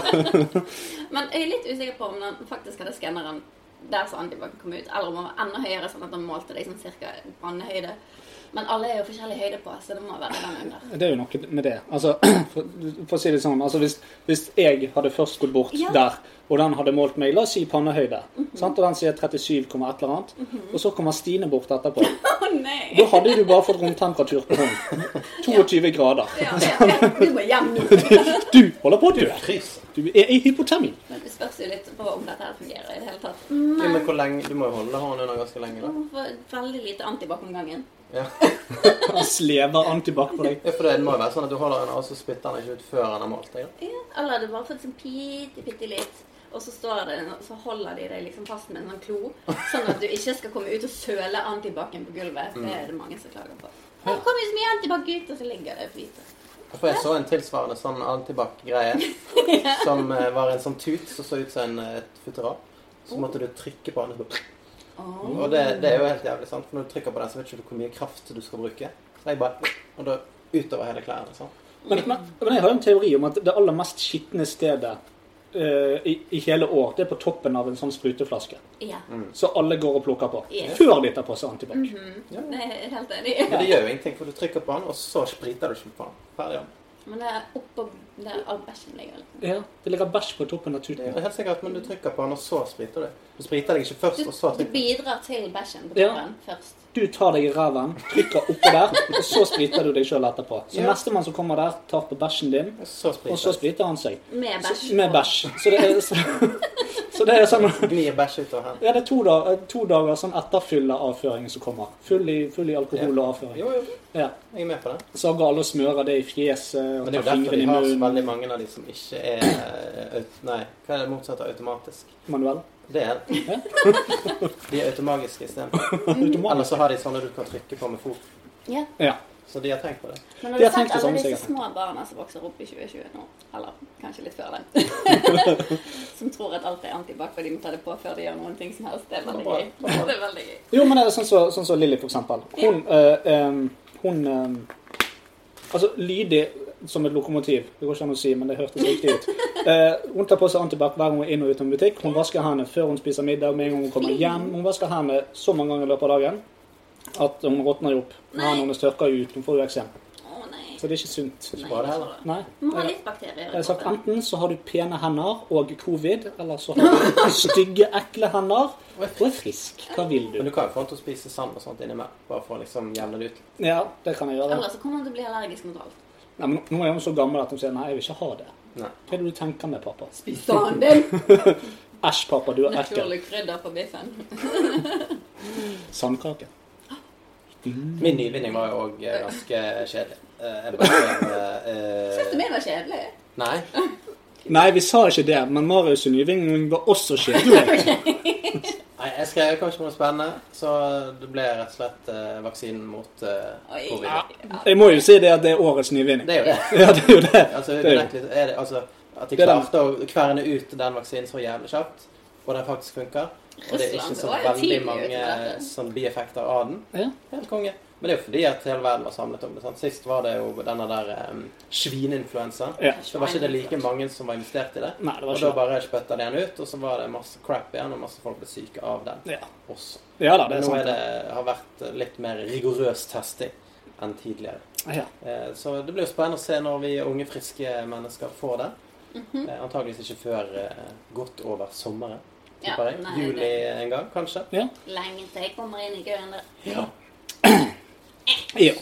Speaker 5: Men jeg er litt usikker på om den faktisk hadde skanneren der så antibac kom ut, eller om den var enda høyere, sånn at den målte deg sånn cirka pannehøyde. Men alle er jo forskjellig høyde på, så det må være den under.
Speaker 4: Det er jo noe med det. Altså, for, for å si det sånn, altså hvis, hvis jeg hadde først gått bort
Speaker 5: Ja. Mhm.
Speaker 4: der, og den hadde målt meg, la oss si pannehøyde, sant? og den sier 37, et eller annet, og så kommer Stine bort etterpå,
Speaker 5: Å
Speaker 4: da
Speaker 5: nei!
Speaker 4: hadde du bare fått romtemperatur på hånden. 22 grader.
Speaker 5: Ja, ja, ja. Du må hjem nå.
Speaker 4: Du holder på å dø.
Speaker 3: Frys.
Speaker 4: Du er i hypotermi.
Speaker 5: Men hvis spørs jo litt på om dette her fungerer i det hele tatt.
Speaker 3: Jo, men
Speaker 5: Men
Speaker 3: hvor lenge, Du må jo holde hånden under ganske lenge, da.
Speaker 5: hun får veldig lite antibac om gangen.
Speaker 3: Ja.
Speaker 4: Han slever antibac på deg.
Speaker 3: ja, for det må jo være sånn at du holder den, og så spytter den ikke ut før den har malt deg. da.
Speaker 5: Ja, eller hadde bare fått sånn bitte, bitte litt. Og så, står det, så holder de deg liksom fast med en sånn klo, sånn at du ikke skal komme ut og søle antibac-en på gulvet. Det er det mange som klager på. Nå Mm. kommer det så mye antibac ut, og så ligger det hvite.
Speaker 3: For jeg så en tilsvarende sånn antibac-greie som eh, var en sånn tut som så ut som en, eh, et futteral. Så måtte du trykke på den. og så-
Speaker 5: Åh.
Speaker 3: Og det, det er jo helt jævlig, sant? For når du trykker på den, så vet ikke du hvor mye kraft du skal bruke. Så jeg bare Og da utover hele klærne. sånn.
Speaker 4: Men, men, men jeg har jo en teori om at det aller mest skitne stedet eh, i, i hele år, det er på toppen av en sånn spruteflaske.
Speaker 5: Ja.
Speaker 3: Mm.
Speaker 4: Så alle går og plukker på.
Speaker 5: Yes. Mhm.
Speaker 4: Før de tar på seg antibac.
Speaker 5: Det er helt
Speaker 3: Men
Speaker 5: enig.
Speaker 3: det gjør jo ingenting, for du trykker på den, og så spriter du ikke på den. Ferdig. ja.
Speaker 5: Men det er oppå der all bæsjen ligger. liksom.
Speaker 4: Ja, Det ligger bæsj på toppen av
Speaker 3: Det
Speaker 4: tuten.
Speaker 3: er helt sikkert, men du trykker på den, og så spriter du. Du spriter deg ikke først, og så
Speaker 5: Du, du
Speaker 3: trykker du.
Speaker 5: bidrar til bæsjen på
Speaker 4: Ja.
Speaker 5: toppen først.
Speaker 4: Du tar deg i ræven, trykker oppå der, og så spriter du deg sjøl etterpå. Så
Speaker 3: Ja.
Speaker 4: nestemann som kommer der, tar på bæsjen din,
Speaker 3: og Så
Speaker 4: og så
Speaker 3: spriter du.
Speaker 4: spriter han seg.
Speaker 5: Med bæsj.
Speaker 4: Så- Med bæsj. Så det er, så, så det er sånn
Speaker 3: Glir bæsj utover hendene.
Speaker 4: Ja, det er to, da, to dager sånn etterfyll av avføringen som kommer. Full i, full i alkohol og avføring.
Speaker 3: Jo, jo.
Speaker 4: Ja.
Speaker 3: Jeg er med på det.
Speaker 4: Så går alle og smører det i fjeset og
Speaker 3: Men det er
Speaker 4: tar
Speaker 3: jo derfor
Speaker 4: fingrene
Speaker 3: de
Speaker 4: i
Speaker 3: har så
Speaker 4: munnen.
Speaker 3: veldig mange av de som ikke er eh, aut- Nei, hva er det motsatte av automatisk?
Speaker 4: Manuel.
Speaker 3: Det er det. De er automagiske istedenfor. Mm. Eller
Speaker 4: Automatisk.
Speaker 3: så har de sånne du kan trykke på med fot.
Speaker 5: Ja.
Speaker 4: Ja.
Speaker 3: Så de har tenkt på det.
Speaker 4: Det
Speaker 5: Men har
Speaker 4: har
Speaker 5: du
Speaker 4: tenkt
Speaker 5: sett
Speaker 4: det
Speaker 5: alle
Speaker 4: samme,
Speaker 5: disse
Speaker 4: sikkert.
Speaker 5: små barna som vokser opp i 2020 nå? Eller kanskje litt før det. som tror at alt er antibac, og de må ta det på før de gjør noen ting som helst. Det er veldig gøy. Det er veldig gøy.
Speaker 4: Jo, men det er sånn som så, sånn som Lilly, for eksempel. Hun, eh, em, hun em, Altså, lydig som et lokomotiv. Det går ikke an å si, men det hørtes riktig ut. Eh, hun tar på seg antibac hver gang hun er inn og ut av en butikk. Hun vasker hendene før hun spiser middag, med en gang hun kommer hjem. Hun vasker hendene så mange ganger i løpet av dagen at hun råtner jo opp. Hendene hennes tørker jo ut. Hun får jo eksem.
Speaker 5: Å nei.
Speaker 4: Så det er ikke sunt.
Speaker 3: Var det heller?
Speaker 4: Nei.
Speaker 5: Du må ha litt bakterier.
Speaker 4: Jeg
Speaker 5: i
Speaker 4: har sagt
Speaker 5: kroppen.
Speaker 4: Enten så har du pene hender og covid, eller så har du stygge, ekle hender og er frisk. Hva vil du?
Speaker 3: Men du kan jo få han til å spise sand og sånt innimellom. Bare for å liksom jevne det ut.
Speaker 4: Ja, det kan jeg gjøre.
Speaker 5: Eller så kommer hun til å bli allergisk mot alt.
Speaker 4: Nei, men nå er hun så gammel at hun sier nei, jeg vil ikke ha det.
Speaker 3: Nei.
Speaker 4: Hva er det du tenker med, pappa?
Speaker 5: Bistanen din!
Speaker 4: Æsj, pappa, du er ekkel.
Speaker 5: Naturlig krydder på biffen.
Speaker 4: Sandkake.
Speaker 3: Min nyvinning var jo òg ganske kjedelig. Eh, Jeg bare eh,
Speaker 5: Syns du min var kjedelig?
Speaker 3: eh, Nei.
Speaker 4: Nei, vi sa ikke det, men Marius' nyvinning var også kjedelig.
Speaker 3: Nei, Jeg skrev kanskje noe spennende, så det ble rett og slett eh, vaksinen mot eh,
Speaker 5: Oi.
Speaker 3: covid.
Speaker 5: Ja.
Speaker 4: Jeg må jo si det at det er årets nyvinning.
Speaker 3: Det er jo det.
Speaker 4: Ja, det er jo det.
Speaker 3: Altså,
Speaker 4: Det er jo-
Speaker 3: unektelig er det, altså, at de
Speaker 4: Det er den-
Speaker 3: klarte å kverne ut den vaksinen så jævlig kjapt, og den faktisk funker. Og det er ikke
Speaker 5: Russland
Speaker 3: så
Speaker 5: var jo
Speaker 3: veldig
Speaker 5: tidlig ute
Speaker 3: mange
Speaker 5: med dette.
Speaker 3: sånn, bieffekter av den.
Speaker 4: Ja.
Speaker 3: Helt konge. Men det er jo fordi at hele verden var samlet om det. Sant? Sist var det jo denne der um, svineinfluensaen.
Speaker 4: Ja.
Speaker 3: Så var ikke det like mange som var investert i det.
Speaker 4: Nei, det
Speaker 3: og
Speaker 4: var ikke
Speaker 3: da
Speaker 4: det.
Speaker 3: bare spytta de den ut, og så var det masse crap igjen, og masse folk ble syke av den
Speaker 4: Ja.
Speaker 3: også.
Speaker 4: ja da, det
Speaker 3: Men
Speaker 4: er
Speaker 3: nå er
Speaker 4: sant.
Speaker 3: det, har vært litt mer rigorøs testing enn tidligere.
Speaker 4: Ja.
Speaker 3: Eh, Så det blir jo spennende å se når vi unge, friske mennesker får det.
Speaker 5: Mhm.
Speaker 3: Eh, Antageligvis ikke før eh, godt over sommeren.
Speaker 5: Ja,
Speaker 3: tipper jeg.
Speaker 5: nei,
Speaker 3: Juli
Speaker 5: det-
Speaker 3: en gang, kanskje.
Speaker 4: ja.
Speaker 5: Lenge til jeg kommer inn i køen der.
Speaker 4: ja.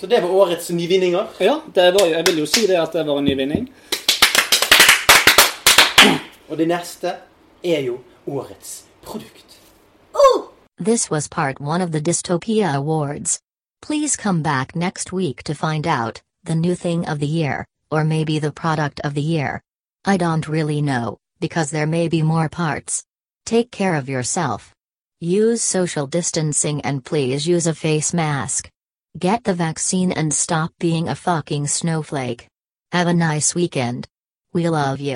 Speaker 3: Så det var årets nyvinninger.
Speaker 4: Ja, det var, jo- jeg vil jo si det at det var en nyvinning.
Speaker 3: Og det neste er jo årets produkt.
Speaker 9: This was part one of the Dystopia Awards. Please come back next week to find out the new thing of the year, or maybe the product of the year. I don't really know, because there may be more parts. Take care of yourself. Use social distancing and please use a face mask. Get the vaccine and stop being a fucking snowflake. Have a nice weekend. We love you.